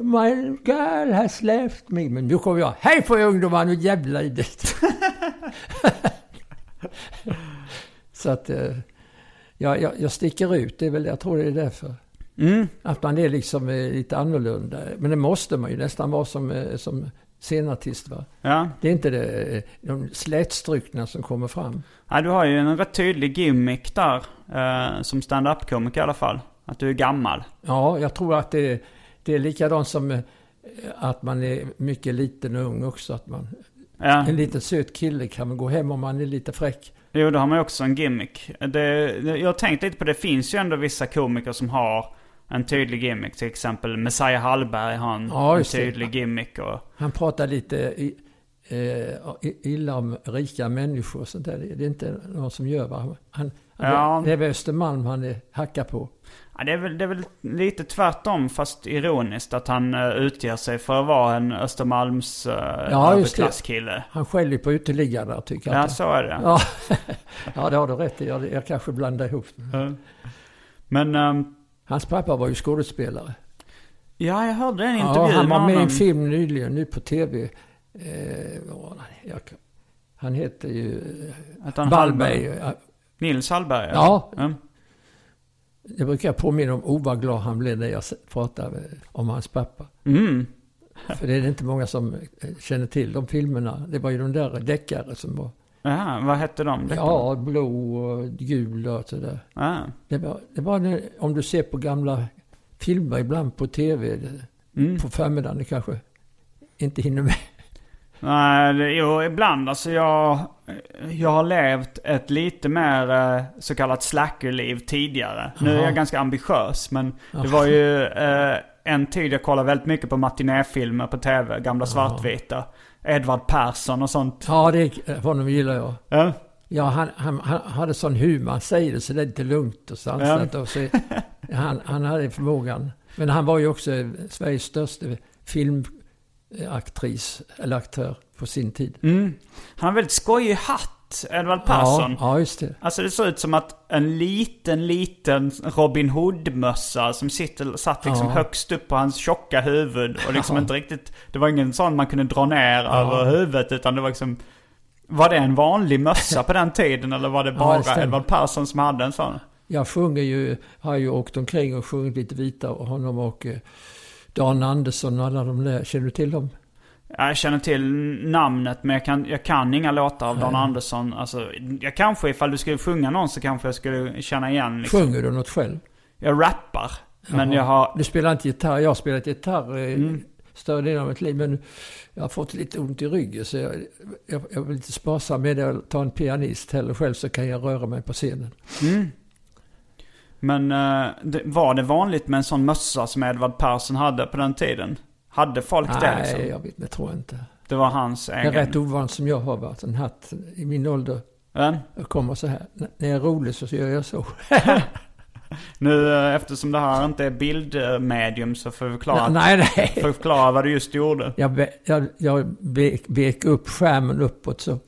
my girl has left me. Men nu kommer jag. Hej på er ungdomar, nu jävlar i det. Så att eh, jag, jag, jag sticker ut, det är väl, jag tror det är därför. Mm. Att man är liksom eh, lite annorlunda. Men det måste man ju nästan vara som, eh, som scenartist. Va? Ja. Det är inte det, eh, de slätstrukna som kommer fram. ja, du har ju en rätt tydlig gimmick där. Eh, som stand-up-komiker i alla fall. Att du är gammal. Ja, jag tror att det, det är likadant som eh, att man är mycket liten och ung också. Att man, Ja. en liten söt kille kan man gå hem om man är lite fräck. Jo, då har man ju också en gimmick. Det, det- jag har tänkt lite på det. Det finns ju ändå vissa komiker som har en tydlig gimmick. Till exempel Messiah Hallberg har en, Ja, en just det. tydlig gimmick. Och, Han pratar lite i, eh, i- illa om rika människor och sånt där. Det det är inte någon som gör va? Han, han, Ja. Det är väl Östermalm han är, hackar på. ja, det, är väl, det är väl lite tvärtom, fast ironiskt, att han uh, utger sig för att vara en Östermalms uh, Ja, just det. överklasskille. Han skäller på uteliggarna tycker jag. Ja, så är det. ja. ja, det har du rätt i. Jag, jag kanske blandar ihop. Ja. Men, ehm, Hans pappa var ju skådespelare. ja, jag hörde en intervju Ja, han var med i honom. en film nyligen, nu på tv. Eh, vad var han? jag, han heter ju eh, Att han- Wallberg. Nils Hallberg? Ja. Mm. Det brukar jag påminna om, oh vad glad han blev när jag pratade om hans pappa. Mm. För det är det inte många som eh, känner till de filmerna. Det var ju de där deckare som var... Jaha, vad hette de? Ja, blå och gul och sådär. Ja. Det var, det var nu, om du ser på gamla filmer ibland på tv, det- Mm. på förmiddagen det kanske inte hinner med. Nej, det- jo, ibland. Alltså jag, jag har levt ett lite mer eh, så kallat slackerliv tidigare. Nu är jag ganska ambitiös, men det var ju eh, en tid jag kollade väldigt mycket på matinéfilmer på tv, gamla svartvita. Edvard Persson och sånt. Ja, det, eh, honom gillar jag. Ja. Ja, han, han, han hade sån humor. Han säger det så det är lite lugnt och sansat. Och så, han, han hade förmågan. Men han var ju också Sveriges största filmaktris, eller aktör, på sin tid. Mm. Han har en väldigt skojig hatt, Edvard Persson. Ja, ja, just det. Alltså det såg ut som att en liten, liten Robin Hood-mössa som sitter, satt liksom Ja. högst upp på hans tjocka huvud och liksom inte riktigt... Det var ingen sån man kunde dra ner över huvudet utan det var liksom... Var det en vanlig mössa på den tiden eller var det bara stämmer. Edvard Persson som hade en sån? Jag sjunger ju, har ju åkt omkring och sjungit lite vita och honom och eh, Dan Andersson och alla de där. Känner du till dem? Jag känner till namnet men jag kan, jag kan inga låtar av Dan Andersson. Alltså, jag kanske, ifall du skulle sjunga någon så kanske jag skulle känna igen liksom. Sjunger du något själv? Jag rappar. Men jag har... Du spelar inte gitarr. Jag har spelat gitarr eh, Mm. större delen av mitt liv, men jag har fått lite ont i ryggen så jag, jag, jag vill lite sparsam med det. Jag tar en pianist heller själv så kan jag röra mig på scenen. Men eh, det, var det vanligt med en sån mössa som Edvard Persson hade på den tiden? Hade folk det Nej, liksom? jag vet, det tror jag inte. Det var hans Det är egen... rätt ovant som jag har varit, en hatt i min ålder. Men, Jag kommer så här. N- När jag är rolig så gör jag så. nu eh, eftersom det här inte är bildmedium så får vi förklara, Nej, nej. får vi förklara vad du just gjorde Jag, be, jag, jag bek, bek upp skärmen uppåt så.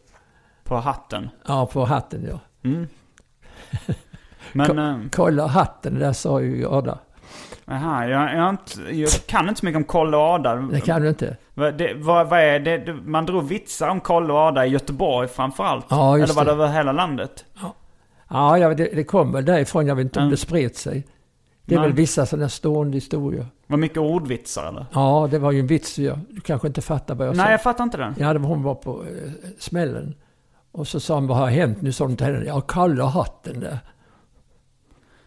på hatten. Ja, på hatten ja. Men, eh, Kolla hatten, där sa ju Ada. aha, jag, jag, har inte, jag kan inte så mycket om koll och Ada. Det kan du inte. Va- det- Vad vad är det? det- Man drog vitsar om koll och Ada i Göteborg framförallt. Ja, just Eller var det det. över hela landet? Ja, jag- det, det kommer därifrån. Jag vet inte om Mm. det spred sig. Det är Nej. väl vissa sådana stående historier. Var mycket ordvitsar eller? Ja, det var ju en vits. Jag, du kanske inte fattar vad jag Nej, sa. jag fattar inte den. Ja, det var hon var på eh, smällen. Och så sa hon, vad har hänt? Nu sa hon till henne, ja, kalla hatten där.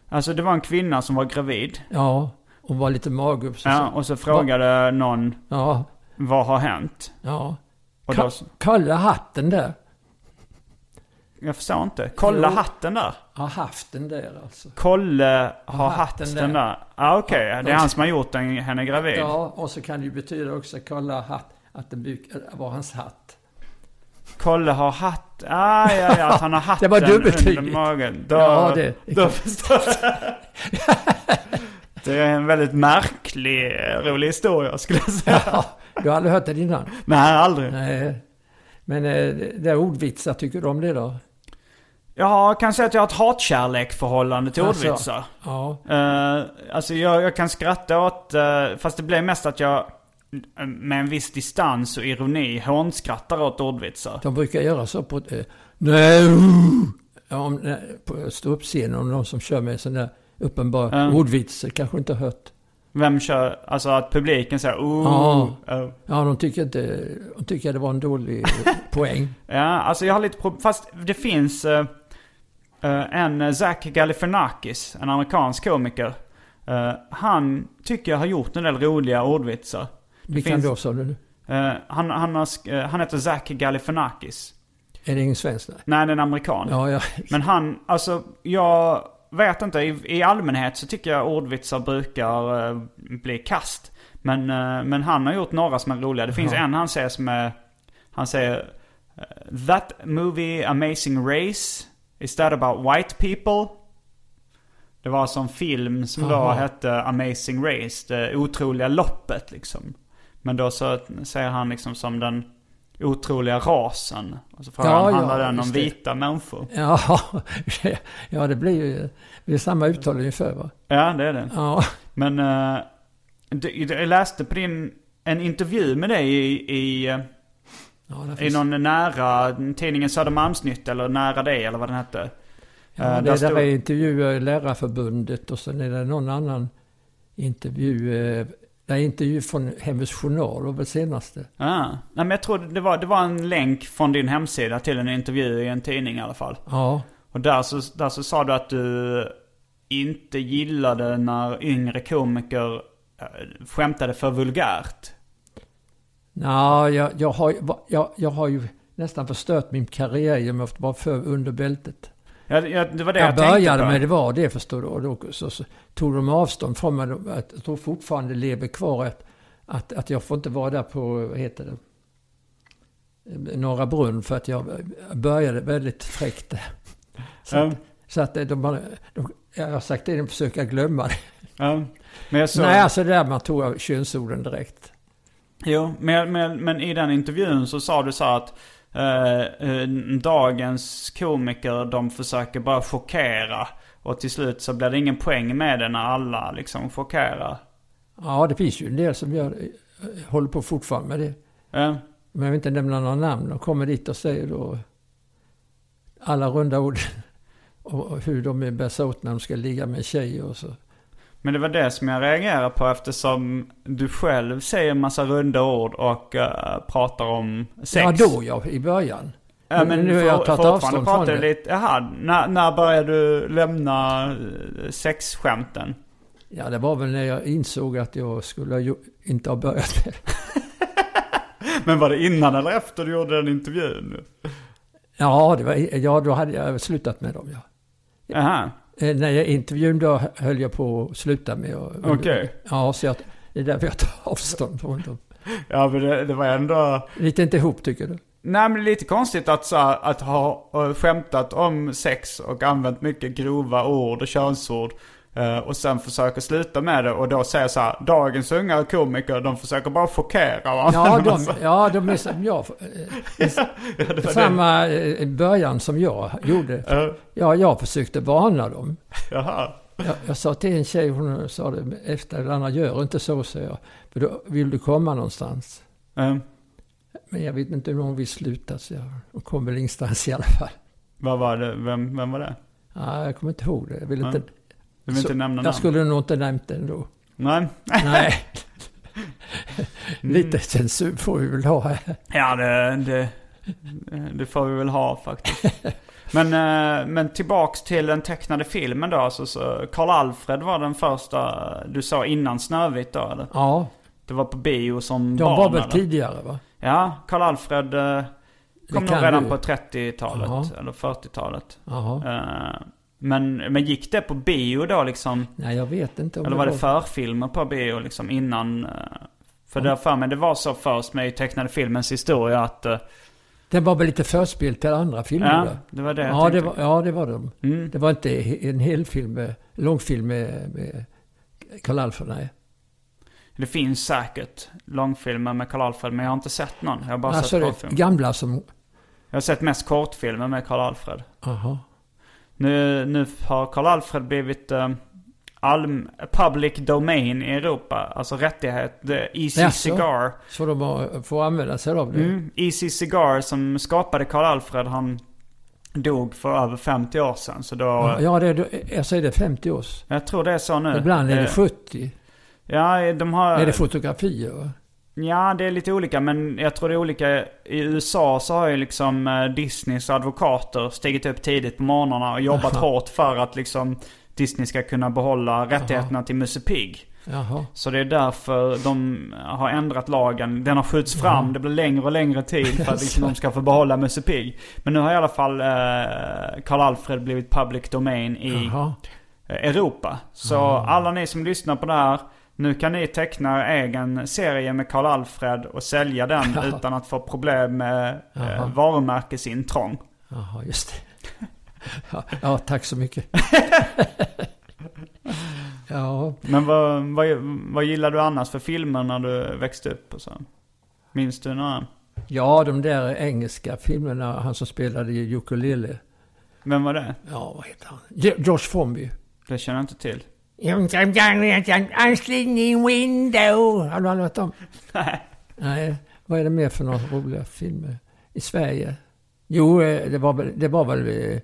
Alltså det var en kvinna som var gravid. Ja, hon var lite magupp. Så Ja, sa- och så frågade någon ja, vad har hänt? ja. Och Ka- då, s- Kalla hatten där. jag förstår inte. Kolla Jo. hatten där. Ja, haften där alltså. Kolle har Har hatten hatten där. Ja, ah, okej. Det är han som har gjort den, henne gravid. Ja, och så kan det ju betyda också kolla hatt, att det buk- eller var hans hatt. Kolle har hatt... Ah, ja, ja, att han har hatten Det var dubbeltydigt. under magen. Då, Ja, det- då förstår jag. Det är en väldigt märklig, eh, rolig historia skulle jag säga. Du har aldrig hört det innan? Nej, aldrig. Nej. Men eh, det det är ordvitsar, tycker du om det då? Jag kan säga att jag har ett hatkärlek-förhållande till Alltså. ordvitsar. Ja. Eh, alltså jag, jag kan skratta åt, eh, fast det blev mest att jag eh, med en viss distans och ironi hånskrattar åt ordvitsar. De brukar göra så på... Eh, nej, uh, om, när- på ståuppscenen, om någon som kör med sån där uppenbar Ja. ordvits, eh, kanske inte har hört. Vem kör, alltså att publiken säger oh, Ja. eh, Ja, de tycker inte... De tycker det var en dålig eh, poäng. Ja, alltså jag har lite problem, fast det finns eh, eh, en eh, Zach Galifianakis, en amerikansk komiker. Eh, han tycker jag har gjort en del roliga ordvitsar. Det Vilken finns- då, sa du? nu? eh, han, han, har, sk- eh, han heter Zach Galifianakis. Är det ingen svensk? Nej. Nej, det är en amerikan. Ja, ja. Men han, alltså jag vet inte. I, i allmänhet så tycker jag ordvitsar brukar eh, bli kast. Men, eh, men han har gjort några som är roliga. Det finns en han säger som är, han säger eh, That movie Amazing Race is that about white people? Det var som film som då Aha. hette Amazing Race, det otroliga loppet liksom. Men då så säger han liksom som den otroliga rasen. Och så frågar Ja, han, ja, handlar den om just det. vita människor? Ja, ja det blir ju... Det är samma uttal ungefär, va? Ja, det är det. Ja. Men eh, det- jag läste på din, en intervju med dig i, i, eh, ja där i finns- någon nära, tidningen Södermalmsnytt eller nära dig eller vad den hette. Ja, Eh, det där där stod- är intervjuer i Lärarförbundet och sen är det någon annan intervju. eh, Nej, intervju från Hemmets Journal var väl senaste. Ah. Nej, men jag tror det var, det var en länk från din hemsida till en intervju i en tidning i alla fall. Ja, Och där så, där så sa du att du inte gillade när yngre komiker eh, skämtade för vulgärt. Nej, jag, jag, har, jag, jag har ju nästan förstört min karriär genom att vara för under bältet. Jag, jag, det var det jag, Jag började tänkte på. med det var det förstår du. Och då så, så tog de avstånd från mig. De- Att, jag tror fortfarande det lever kvar att, att, att jag får inte vara där på, vad heter det? Norra Brunn för att jag började väldigt fräckt där. Så, Ja, att, så att de, har- de, jag har sagt det, de försöker glömma det. ja. Men jag såg... Nej, alltså det där man tog av könsorden direkt. Jo, men, men, men i den intervjun så sa du så här att eh, eh, dagens komiker de försöker bara chockera. Och till slut så blir det ingen poäng med det när alla liksom chockerar. Ja, det finns ju en del som gör, håller på fortfarande med det. Eh, Men jag vill inte nämna några namn. De kommer dit och säger då alla runda ord. Och och hur de är bäst åt när de ska ligga med tjejer och så. men det var det som jag reagerade på eftersom du själv säger en massa runda ord och eh, pratar om sex. Ja, då ja, i början. Ja, men Men nu har jag for- tagit fortfarande avstånd pratar från du det. Lite, jaha, när, när började du lämna eh, sexskämten? Ja, det var väl när jag insåg att jag skulle ha ju- inte ha börjat med det. Men var det innan eller efter du gjorde den intervjun? Ja, det var, ja, då hade jag slutat med dem ja. Aha, Eh, när jag intervjun då höll jag på att sluta med att... okej. Ja, så jag, det är därför jag tar avstånd från dem. Ja men det, det var ändå... Lite inte ihop tycker du? Nej men det är lite konstigt att, så, här- att ha eh, skämtat om sex och använt mycket grova ord och könsord. eh, Och sen försöker sluta med det och då säger så här, dagens unga komiker de försöker bara chockera va? Ja, alltså. de, ja, de är som jag. eh, Samma eh, början som jag gjorde. Eh, Ja, jag försökte varna dem. Jaha. Jag, jag sa till en tjej, hon sa det efter den andra, gör inte så, sa jag. För då vill du komma någonstans. Eh, Men jag vet inte hur hon vill sluta, så jag. Hon kom väl ingenstans i alla fall. Vad var det? Vem, vem var det? Ja, jag kommer inte ihåg det. Jag vill inte... Du vill Så- inte nämna namn? Jag skulle nog inte nämnt det ändå. Nej. Nej. Mm. Lite censur får vi väl ha här. Ja, det, det, det får vi väl ha faktiskt. Men, eh, men tillbaks till den tecknade filmen då. Alltså, så Karl Alfred var den första du sa innan Snövit då eller? Ja, Det var på bio som de barn var väl eller? tidigare va? Ja, Karl Alfred eh, kom nog kan redan du. på 30-talet Jaha. eller 40-talet. Jaha. Eh, men, men gick det på bio då liksom? Nej, jag vet inte. Om Eller var det förfilmer på bio liksom innan? eh, För det har för mig det var så först med tecknade filmens historia att... eh, Den var väl lite förspel till andra filmer? Ja, va? det var det jag ja, det tänkte. var, ja, det var de. Mm. Det var inte he- en hel film, med- långfilm med, med Karl Alfred, nej. Det finns säkert långfilmer med Karl Alfred men jag har inte sett någon. Jag har bara Alltså sett det kortfilmer. gamla som... Jag har sett mest kortfilmer med Karl Alfred. Aha. Nu, nu har Karl Alfred blivit eh, allm, public domain i Europa. Alltså rättighet. The Easy Jaså? Cigar. Så de har, eh, får använda sig av det. Mm. Easy Cigar som skapade Karl Alfred han dog för över 50 år sedan. Så då... Ja, ja, det är, jag säger det 50 års. Jag tror det är så nu. Ibland är det Eh, 70. Ja, de har... Är det fotografier? va? Ja, det är lite olika, men jag tror det är olika. I USA så har ju liksom eh, Disneys advokater stigit upp tidigt på morgnarna och jobbat Aha. hårt för att liksom Disney ska kunna behålla rättigheterna till Musse Pig. Jaha. Så det är därför de har ändrat lagen. Den har skjuts fram, det blir längre och längre tid för att liksom de ska få behålla Musse Pig. Men nu har i alla fall eh, Karl Alfred blivit public domain i Jaha. Eh, Europa. Så alla ni som lyssnar på det här, nu kan ni teckna er egen serie med Karl Alfred och sälja den utan att få problem med eh, varumärkesintrång. Jaha, just det. Ja, ja, tack så mycket. ja, Men vad, vad, vad gillar du annars för filmer när du växte upp och så? Minns du några? ja, de där engelska filmerna, han som spelade i ukulele. Vem var det? Ja, vad heter han? Jo- Josh Formby. Det känner jag inte till. Ansligning window. Har du aldrig hört om? Nej. Vad är det mer för några roliga filmer i Sverige? Jo, eh, det var väl, det var väl eh,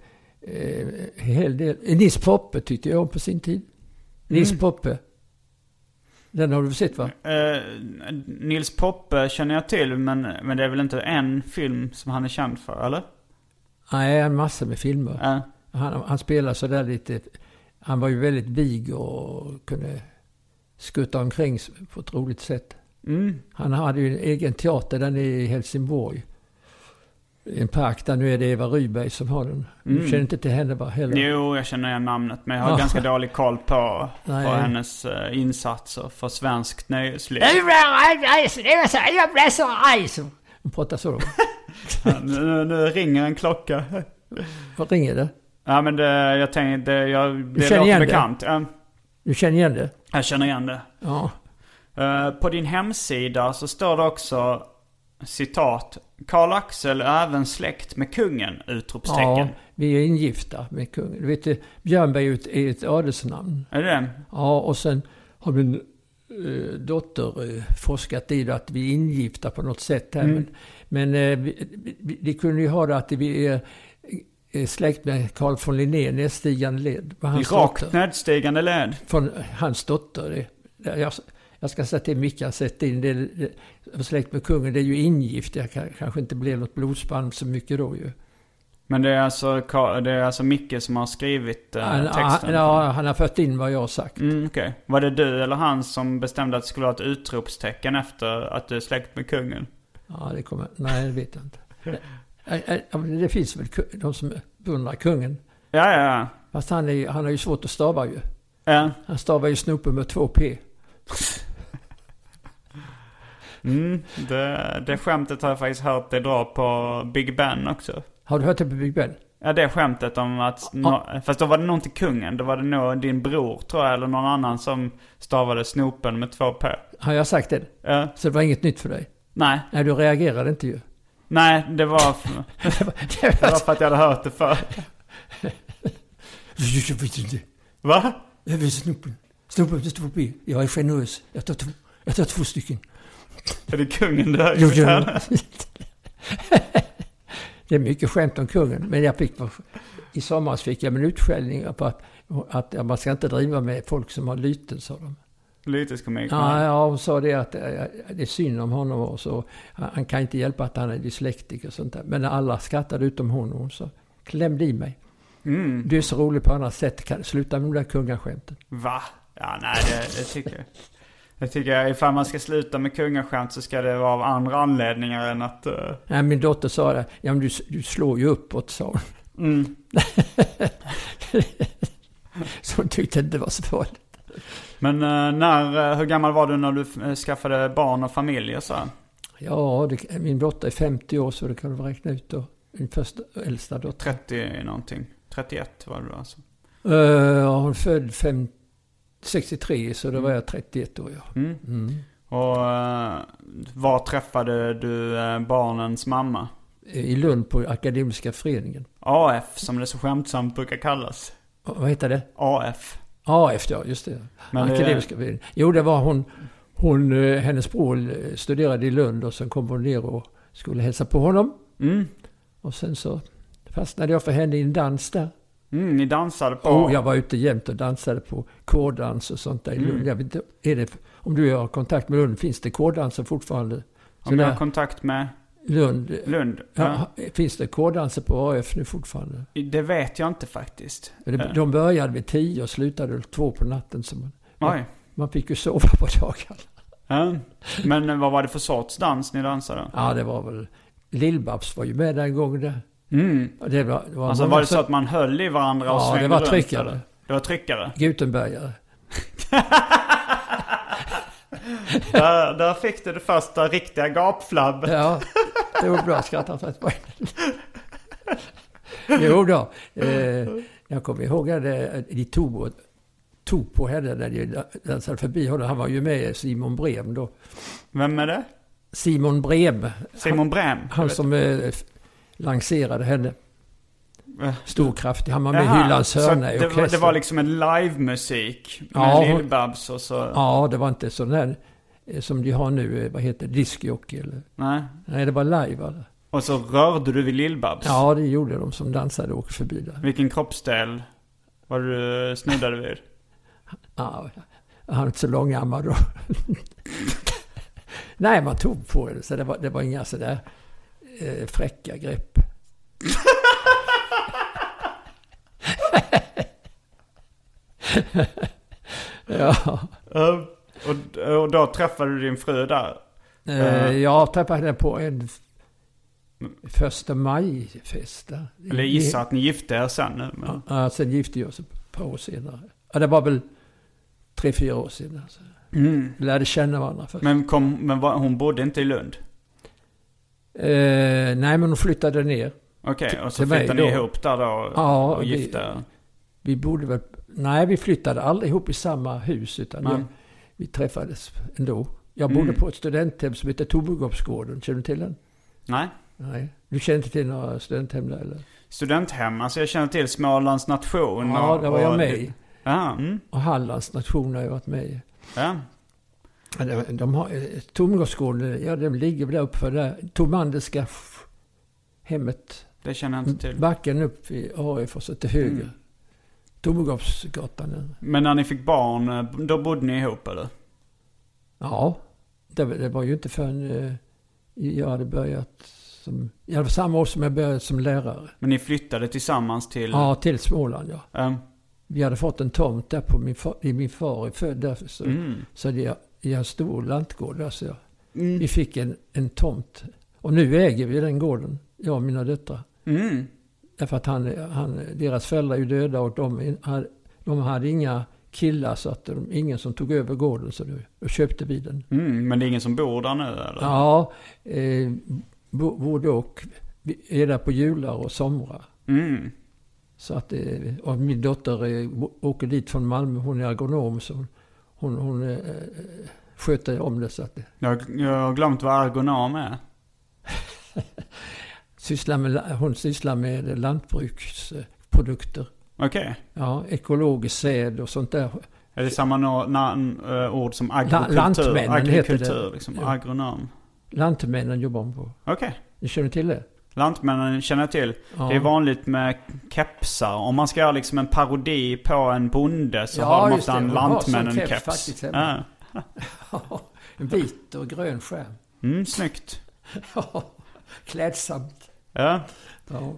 eh, en hel del. Eh, Nils Poppe tyckte jag om på sin tid. Nils Poppe. Den har du väl sett va? Eh, Nils Poppe känner jag till, men, men det är väl inte en film som han är känd för, eller? Nej, en massa med filmer. Eh, Han, han spelade sådär lite... Han var ju väldigt vig och kunde skutta omkring på ett roligt sätt. Mm. Han hade ju en egen teater där nere i Helsingborg. I en park där nu är det Eva Rydberg som har den. Du Mm. känner inte till henne bara heller? Jo, jag känner igen namnet men jag har Ja. ganska dålig koll på, Nej. på hennes eh, insatser för svenskt nöjesliv. Jag blev så arg! Hon pratar så. nu, nu, nu ringer en klocka. Vad ringer det? Ja men det, jag tänkte, det, jag, det känner låter igen det? bekant. Ja, Du känner igen det? jag känner igen det. Ja. Eh, På din hemsida så står det också citat. Karl Axel är även släkt med kungen! Utropstecken. ja vi är ingifta med kungen. Du vet, Björnberg är ju ett, är ett adelsnamn. Är det det? Ja, och sen har min eh, dotter eh, forskat i det att vi är ingifta på något sätt här. Men, men eh, vi, vi, vi kunde ju ha det att vi är är släkt med Carl von Linné, näststigande led. på I hans dotter. rakt nedstigande led. från hans dotter. Det- det- Jag, jag ska säga till Micke att sätta in det, det släkt med kungen, det är ju ingift. Jag kan, kanske inte blev något blodsband så mycket då ju. Men det är alltså, Ka- det är alltså Micke som har skrivit eh, Han, han, texten? ja, han har fört in vad jag har sagt. Mm, okej. Var det du eller han som bestämde att det skulle vara ett utropstecken efter att du är släkt med kungen? Ja, det kommer, nej, det vet jag inte. Nej, nej, ja, men Det finns väl ku- de som beundrar kungen. Ja, ja, ja. Fast han, är, ju- han har ju svårt att stava ju. Ja. Han stavar ju snopen med två P. Mm, det, det skämtet har jag faktiskt hört dig dra på Big Ben också. Har du hört det på Big Ben? Ja, det skämtet om att... No, fast då var det nog inte kungen. Då var det nog din bror, tror jag, eller någon annan som stavade snopen med två p. Har jag sagt det? Ja. Så det var inget nytt för dig? nej, Nej, du reagerade inte ju. nej, det var, det var för att jag hade hört det förr. Jag vet inte. Va? Jag vill snopen. Snopen med två B. Jag är generös. Jag tar två, jag tar två stycken. Är det kungen du har Jo, jo. gjort? Det är mycket skämt om kungen. Men jag fick, i somras fick jag min utskällning på att, att man ska inte driva med folk som har lyten, sa de. Lyteskomik. Ja, ja, hon sa det att eh, det är synd om honom och så. Han han kan inte hjälpa att han är dyslektiker och sånt där. Men alla skrattade utom hon och hon sa klämde i mig. Mm. Du är så rolig på annat sätt. Kan, sluta med de där kungaskämten. Va? Ja, nej, det, det tycker jag. Jag tycker jag, ifall man ska sluta med kungaskämt så ska det vara av andra anledningar än att... eh, Nej, min dotter sa det. Ja, men du, du slår ju uppåt, sa hon. mm. Så hon tyckte inte det var så farligt. Men eh, när, eh, hur gammal var du när du eh, skaffade barn och familj och så? Ja, det, min dotter är 50 år så det kan du väl räkna ut då. Min första äldsta dotter. 30 någonting. 31 var du då, alltså. Uh, ja, hon född fem, 63 så då var jag 31 år. Ja. Mm. Mm. Och eh, var träffade du eh, barnens mamma? Eh, I Lund på Akademiska föreningen. AF som det så skämtsamt brukar kallas. Och Vad heter det? AF. AF ja, just det. Men det- Akademiska föreningen. Jo, det var hon. hon eh, hennes bror eh, studerade i Lund och sen kom hon ner och skulle hälsa på honom. Mm. Och sen så fastnade jag för henne i en dans där. Mm, ni dansade på... Oh, jag var ute jämt och dansade på kårdans och sånt där i Lund. Jag vet inte, är det, om du har kontakt med Lund, finns det kårdanser fortfarande? Om jag Sådär, har kontakt med Lund, eh, Lund? ja, finns det kårdanser på AF nu fortfarande? Ja, det vet jag inte faktiskt. De, de började vid tio och slutade två på natten. Så man, Oj. man fick ju sova på dagarna. Ja. Men eh, vad var det för sorts dans ni dansade? Ja, det var väl... Lill-Babs var ju med den gången där. Mm. Och Det var, det var Alltså många var det så som- att man höll i varandra och Ja, det svängde var runt, tryckare. eller? Det var tryckare? Gutenbergare. där, där fick du det första riktiga gapflabb. Ja, det var bra skrattat för att vara Jo då, eh, jag kommer ihåg att eh, de tog, tog på henne när de dansade förbi honom. Han var ju med i Simon Brem då. Vem är det? Simon Brem, Simon Bräm? han som eh, f- lanserade henne. Eh. Stor kraftig, han var med i Jaha, Hyllans så hörna i det, var, det orkestern. var liksom en livemusik med Ja, hon- Lill-Babs och så... Ja, det var inte sån här eh, som de har nu, eh, vad heter det, discjockey eller? Nej. Nej, det var live. Eller? Och så rörde du vid Lill-Babs? Ja, det gjorde de som dansade och åkte förbi där. Vilken kroppsdel var du eh, snuddade vid? Ja, han är inte så långärmad då. Nej, man tog på det, så det var, det var inga sådär eh, fräcka grepp. ja, Eh, Och, och då träffade du din fru där? Eh, Jag träffade henne på en f- första maj-fest. där. Eller gissa att ni gifte er sen nu. Men... Ja, sen gifte jag oss ett par år senare. Ja, det var väl tre, fyra år senare. Så. Mm. Vi lärde känna varandra först. Men, kom, men var, hon bodde inte i Lund? Eh, nej, men hon flyttade ner. Okej, och så till mig flyttade ni då. ihop där då och, Ja, och vi- gifte er? Vi bodde väl... Nej, vi flyttade aldrig ihop i samma hus. Utan Nej. jag, vi träffades ändå. Jag bodde på ett studenthem som heter Tobergårdsgården. Känner du till den? Nej. Nej. Du känner inte till några studenthem där eller? Studenthem, alltså jag känner till Smålands nation Ja, och, där var jag och- med i. Ja, mm, Och Hallands nation har jag varit med i. ja. Ja, det- De har, eh, Tomgårdsgården, ja den ligger väl där uppe för där. Tomanderska f- hemmet. Det känner jag inte till. Backen upp i AF och så till höger. Mm. Tomgårdsgatan. Men när ni fick barn, eh, då bodde ni ihop eller? Ja, det, var- det var ju inte förrän eh, jag hade börjat som... Ja, det var samma år som jag började som lärare. Men ni flyttade tillsammans till... Ja, till Småland ja. ehm, Vi hade fått en tomt där på min far, i min far är född där. Så, Mm. så det, jag, jag har en stor lantgård där. Så jag, Vi fick en, en tomt. Och nu äger vi den gården, jag och mina döttrar. mm, Därför att han, han, deras föräldrar är ju döda och de hade, de hade inga killar så att de, ingen som tog över gården. Så då, då köpte vi den. mm, men det är ingen som bor där nu eller? Ja, eh, bo- både och. Vi är där på jular och somrar. Mm, Så att, eh, och min dotter eh, åker dit från Malmö, hon är agronom så hon, hon, hon eh, eh, sköter om det så att eh, det jag, jag har glömt vad ergonom är. sysslar med, la- hon sysslar med lantbruksprodukter. Okej. Ja, ekologisk säd och sånt där. Är det samma no- namn, eh, ord som agrikultur? lantmännen heter det. agrikultur, liksom. Ja. Agronom. Lantmännen jobbar hon på. Okej. Ni känner till det? Lantmännen känner jag till. Ja. Det är vanligt med kepsar. Om man ska göra liksom en parodi på en bonde så Ja, har de just ofta det. en De har sån lantmännen keps keps. faktiskt Ja. hemma. En vit och grön skärm. Mm, snyggt. Ja, klädsamt. Ja. Ja.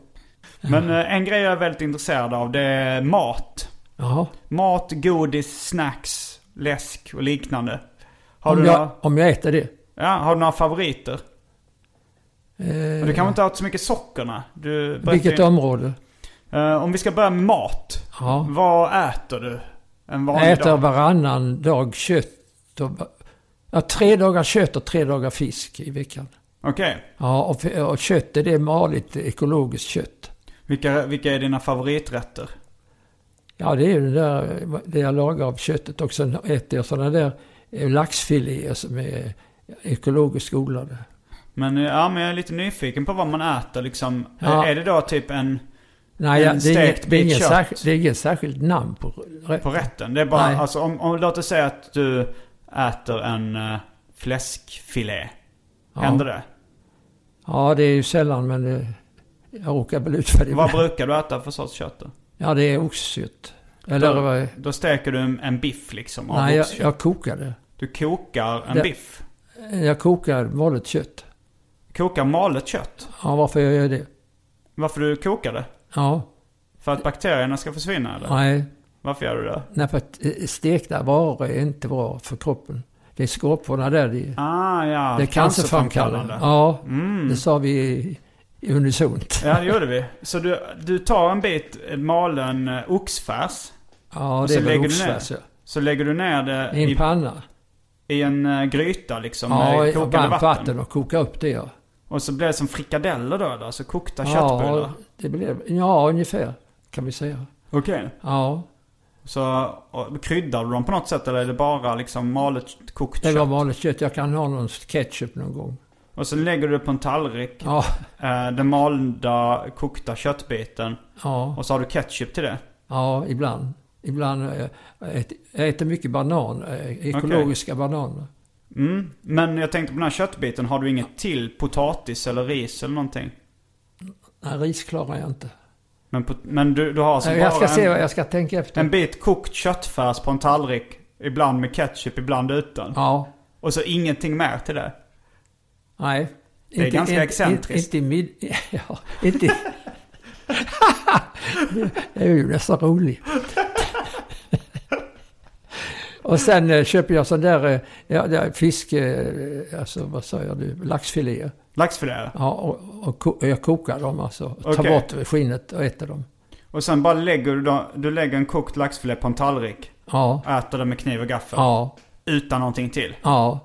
Men eh, en grej jag är väldigt intresserad av det är mat. Jaha. Mat, godis, snacks, läsk och liknande. Har, Om du, jag, några, om jag äter det? ja, har du några favoriter? Eh, Du kanske inte har haft så mycket sockerna? Du berättade vilket ju- område? Eh, om vi ska börja med mat. Ja. Vad äter du? En Jag vanlig äter dag? varannan dag kött och... Ja, tre dagar kött och tre dagar fisk i veckan. Okej. Ja, och, f- och kött är det maligt ekologiskt kött. Vilka, vilka är dina favoriträtter? Ja, det är ju det, där, det jag lagar av köttet och sen äter jag sådana där eh, laxfiléer som är ekologiskt odlade. Men eh, ja, men jag är lite nyfiken på vad man äter liksom. Ja. Eh, Är det då typ en Nej, En ja, det, är stekt inget, det, är bit inget kött. särskilt, det är inget särskilt namn på rätt. på rätten? Det är bara, Nej. alltså om, om, låt oss säga att du äter en eh, fläskfilé. Händer det? Ja, det är ju sällan men det, jag råkar väl ut för det. Vad brukar du äta för sorts kött då? Ja, det är oxkött. Eller vad? Då steker du en, en biff liksom av Nej, jag, oxkött. jag kokar det. Du kokar en Det- biff. Jag kokar malet kött. Kokar malet kött. Ja, varför jag gör det? Varför du kokar det? Ja, För att bakterierna ska försvinna eller? nej. Varför gör du det? Nej, för att eh, stekta varor är inte bra för kroppen. Det är skorporna där. Det, Ah ja, det är cancerframkallande. Ja, det sa vi i- i unisont. Mm. Ja, det gjorde vi. Så du, du tar en bit malen eh, oxfärs. Ja, Och det så är väl lägger du ner oxfärs. ja. Så lägger du ner det I en i, panna. i en eh, gryta liksom Ja, med i kokande varmt vatten. vatten och koka upp det. Ja, Och så blir det som frikadeller då, alltså kokta köttbullar. ja, det blev, ja ungefär kan vi säga. Okej. Ja, Så och, kryddar du dem på något sätt eller är det bara liksom malet kokt det var kött? vanligt kött. Jag kan ha någon ketchup någon gång. Och så lägger du det på en tallrik. Ja, Eh, den malda kokta köttbiten. ja, Och så har du ketchup till det. ja ibland. Ibland eh, jag äter- jag äter mycket banan, eh, ekologiska bananer. Mm. Men jag tänkte på den här köttbiten, har du inget till potatis eller ris eller någonting? Nej, ris klarar jag inte. Men, pot- men du, du har alltså Nej, bara jag ska en, se vad jag ska tänka efter. en bit kokt köttfärs på en tallrik. Ibland med ketchup, ibland utan. Ja, Och så ingenting mer till det. nej. Det är ganska excentriskt. Inte, inte, i mid... Ja, inte... det är ju nästan roligt. Och sen eh, köper jag sån där, eh, ja, där fisk, eh, alltså vad sa jag nu, laxfiléer. Laxfilé. Ja, och, och, ko- jag kokar dem alltså. Tar Okej. bort skinnet och äter dem. Och sen bara lägger du, då, du lägger en kokt laxfilé på en tallrik. Ja, Äter den med kniv och gaffel. ja, Utan någonting till. ja.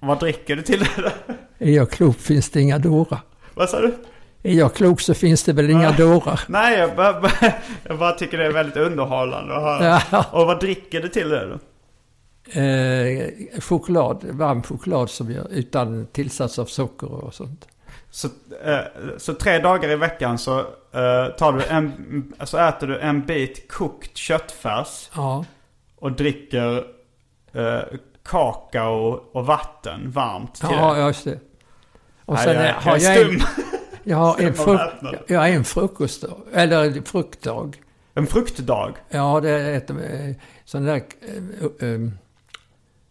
Vad dricker du till det? Är jag klok finns det inga dårar. Vad sa du? Är jag klok så finns det väl inga dårar. Nej, jag bara, bara- jag bara tycker det är väldigt underhållande att höra. Ja. Och vad dricker du till det då? Eh, choklad, varm choklad som jag, utan tillsats av socker och sånt. Så, eh, så tre dagar i veckan så, eh, tar du en, så äter du en bit kokt köttfärs Ja, och dricker eh, kakao och vatten varmt till ja det. just det. Och Nej, sen jag, eh, jag, har är jag en, stum. jag har en, Stum av fruk- väpnad. jag har en frukostdag, eller en fruktdag. En fruktdag. Ja, det är ett eh, sån där eh, eh,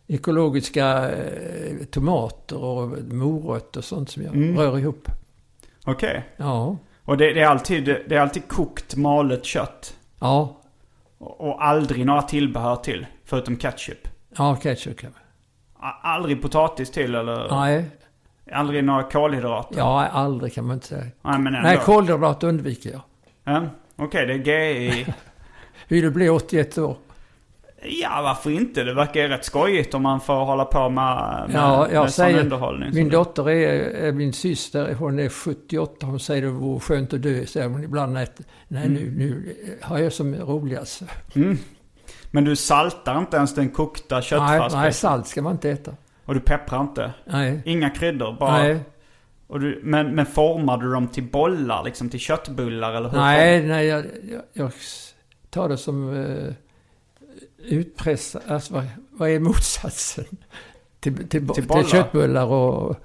ekologiska eh, tomater och morötter och sånt som jag rör ihop. Okej. Ja, Och det, det, är alltid, det är alltid kokt malet kött. ja, Och, och aldrig några tillbehör till. Förutom ketchup. ja ketchup kan man. A- Aldrig potatis till eller Nej, aldrig några kolhydrater. ja, aldrig kan man inte säga. Nej men ändå. Nej, kolhydrat undviker jag. Ja, Okej, det är GI. Vill du bli 81 år? Ja, varför inte? Det verkar ju rätt skojigt om man får hålla på med, med, Ja, jag med sån säger, underhållning. min som det. dotter är, är min syster, hon är 78, hon säger det vore skönt att dö, säger hon ibland. Nej, Mm. nej nu, nu har jag som roligast. Men du saltar inte ens den kokta Nej, nej, köttfärsen. salt ska man inte äta. Och du pepprar inte. Nej, Inga kryddor, bara. nej, Och du, men, men formar du dem till bollar, liksom till köttbullar eller hur? nej, nej jag, jag, jag tar det som uh, utpressat. Alltså, vad, vad är motsatsen? Till, till, bo- Till bollar? till köttbullar och...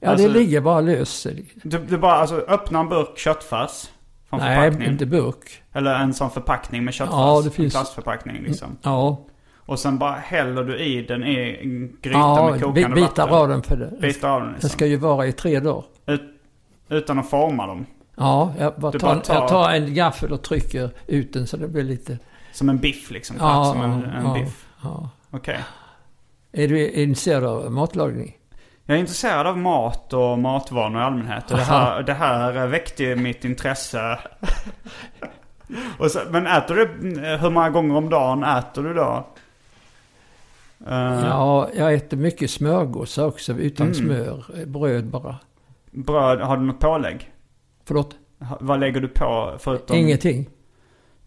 Ja, Alltså- det ligger bara löst. Du, du bara alltså, öppnar en burk köttfärs. Från Nej, förpackningen. inte burk. Eller en sån förpackning med köttfärs. Ja, det finns- En plastförpackning liksom. Ja, Och sen bara häller du i den i en gryta med ja kokande bi- bitar vatten. av den för det. Bitar av den liksom. Den ska ju vara i tre dagar. Ut, utan att forma dem. Ja, jag, bara Du tar, bara tar- jag tar en gaffel och trycker ut den så det blir lite... Som en biff liksom. Ja, Ja, som en, en ja, biff. ja. Okej. Är du intresserad av matlagning? Jag är intresserad av mat och matvanor i allmänhet. Och det, här, det här väckte mitt intresse. och så, men äter du, eh, hur många gånger om dagen äter du då? Eh, Ja, jag äter mycket smörgåsar också utan Mm. smör. eh, Bröd bara. Bröd, har du något pålägg? Förlåt? Ha- Vad lägger du på förutom? Ingenting.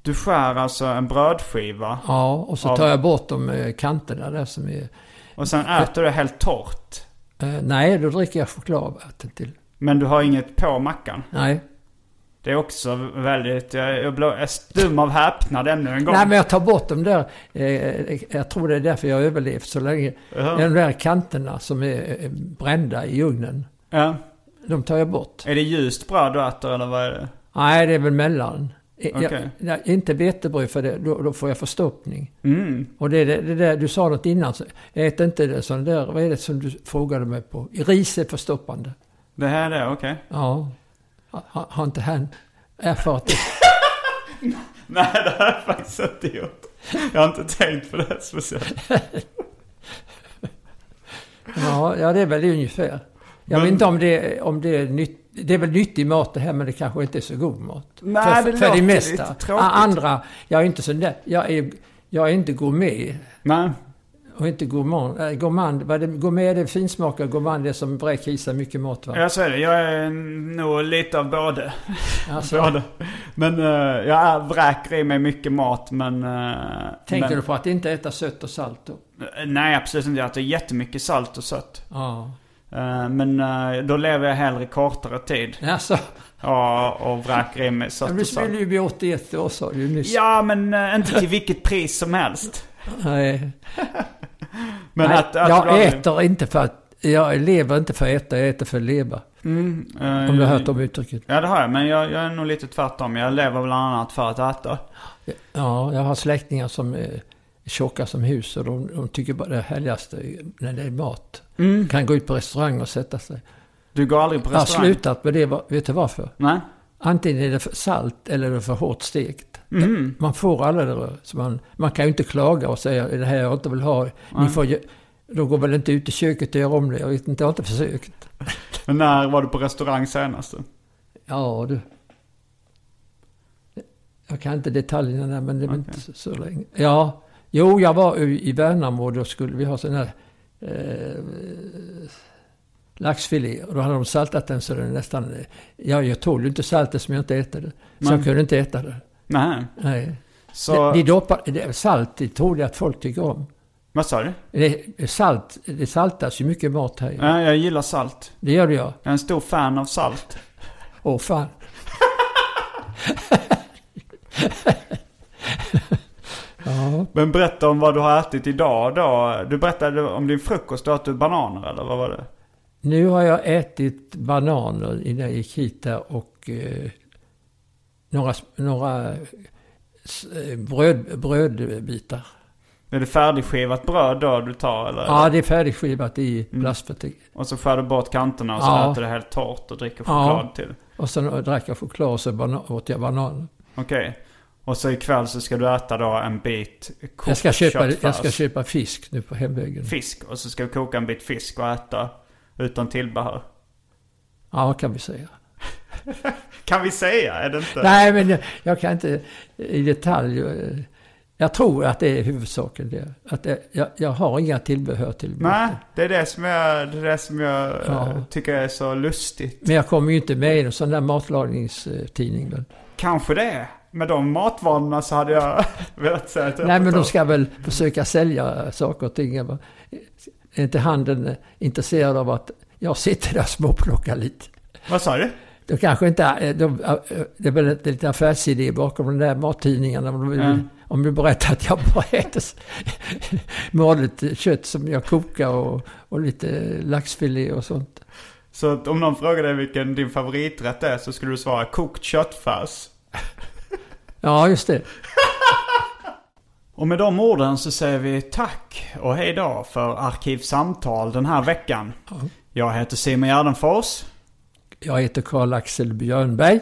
Du skär alltså en brödskiva Ja, och så Ja. tar jag bort de eh, kanterna där som är... och sen äter du helt torrt. eh, Nej, då dricker jag chokladvatten till. Men du har inget på mackan. Nej. Det är också väldigt, jag, jag blev stum av häpnad ännu en gång. Nej, men jag tar bort de där. eh, Jag tror det är därför jag har överlevt så länge. Ja. De där kanterna som är eh, brända i ugnen. Ja. De tar jag bort. Är det ljust bröd du äter eller vad är det? Nej, det är väl mellan. I- Okej. jag- nej, inte vetebröd för det, då, då får jag förstoppning. Mm. Och det, är det, det där, du sa något innan, så jag äter inte det sån där, vad är det som du frågade mig på? Ris är förstoppande. Det här är det, okej. Ja, har ha, har inte han erfarit det? Nej, det här har jag faktiskt inte gjort. Jag har inte tänkt på det här speciellt. Ja, ja, det är väl ungefär. Jag vet Men- inte om det, om det är nytt. Det är väl nyttig mat det här men det kanske inte är så god mat. Nej, för, det för låter det mesta. lite tråkigt. Andra, jag är inte sån där, jag är, jag är inte gourmet. Nej. Och inte gourmand. Äh, gourmand vad är det, gourmet det är finsmakare, gourmand det är som bräkisar mycket mat va? Jag säger det, jag är nog lite av både. Alltså, både. Men eh, jag är- vräker i mig mycket mat men... Uh, tänker men, du på att inte äta sött och salt då? Nej, absolut inte. Jag äter jättemycket salt och sött. Ja. Eh, men eh, då lever jag hellre kortare tid. Alltså, Ja, och vräker i mig men sött du och skulle salt. ju bli 81 år sa du ju nyss. Ja, men eh, inte till vilket pris som helst. Nej, Men nej, att, att jag du- äter inte för att, jag lever inte för att äta, jag äter för att leva. Eh, Om du har hört om uttrycket. Ja det har jag, men jag, jag är nog lite tvärtom. Jag lever bland annat för att äta. Ja, jag har släktingar som är tjocka som hus och de, de tycker bara det härligaste är när det är mat. Kan gå ut på restaurang och sätta sig. Du går aldrig på Jag har restaurang? slutat med det, va- vet du varför? Nej? Antingen är det för salt eller är det för hårt stekt. Man får alla det där. Så man, man kan ju inte klaga och säga det här jag inte vill ha. Ni får, ju- de går väl inte ut i köket och gör om det. Jag vet inte, jag har inte försökt. Men när var du på restaurang senast? då? Ja, du. Jag kan inte detaljerna där, men det var inte så, så länge. Ja, jo, jag var i i Värnamo och då skulle vi ha sån här eh, laxfilé. Och då hade de saltat den så den nästan... Ja, jag tål ju inte saltet som jag inte äter det. Så Nej. jag kunde inte äta det. Nej. Nej. Så... Det, det doppar, det, salt, det tror jag att folk tycker om. Vad sa du? Det, salt, det saltas ju mycket mat här. ju. Ja, jag gillar salt. Det gör jag. Jag är en stor fan av salt. Åh fan. ja. Men berätta om vad du har ätit idag då. Du berättade om din frukost, då åt du bananer eller vad var det? Nu har jag ätit bananer innan jag gick hit där och eh, några, några eh, s- eh, bröd, brödbitar. Är det färdigskivat bröd då du tar eller? Ja, det är färdigskivat i Mm. plastförting. Och så skär du bort kanterna och så Ja. äter det helt torrt och dricker Ja. choklad till. Och sen drack jag choklad och så bana- åt jag bananer. Okej. Och så ikväll så ska du äta då en bit kokt Jag ska, köpa, jag köttfärs. ska köpa fisk nu på hemvägen. Fisk. Och så ska du koka en bit fisk och äta utan tillbehör. Ja, kan vi säga. Kan vi säga? Är det inte? Nej, men jag, jag kan inte i detalj. eh, Jag tror att det är huvudsaken det. Att det, jag, jag har inga tillbehör till mig. Nej, det är det som jag, det är det som jag eh, Ja. tycker är så lustigt. Men jag kommer ju inte med i en sån där matlagningstidning. väl? Kanske det. Med de matvanorna så hade jag velat säga att jag Nej, men de förstår. ska väl försöka sälja saker och ting. va? Är inte handeln intresserad av att jag sitter där och småplockar lite? Vad sa du? De kanske inte, eh, de, eh, det är väl en liten affärsidé bakom de där mattidningarna. Om du, Mm. om du berättar att jag bara äter s- vanligt kött som jag kokar och, och lite laxfilé och sånt. Så att om någon frågar dig vilken din favoriträtt är så skulle du svara kokt köttfärs. Ja, just det. Och med de orden så säger vi tack och hej då för Arkivsamtal den här veckan. Jag heter Simon Gärdenfors. Jag heter Karl-Axel Björnberg.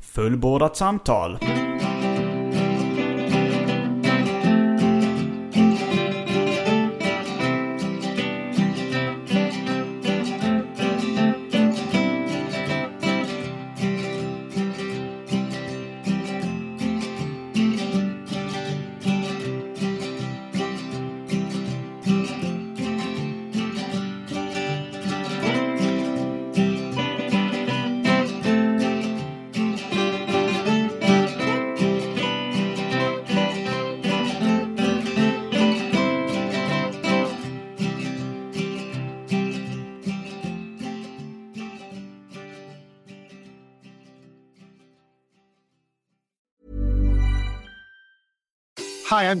Fullbordat samtal. Hi, I'm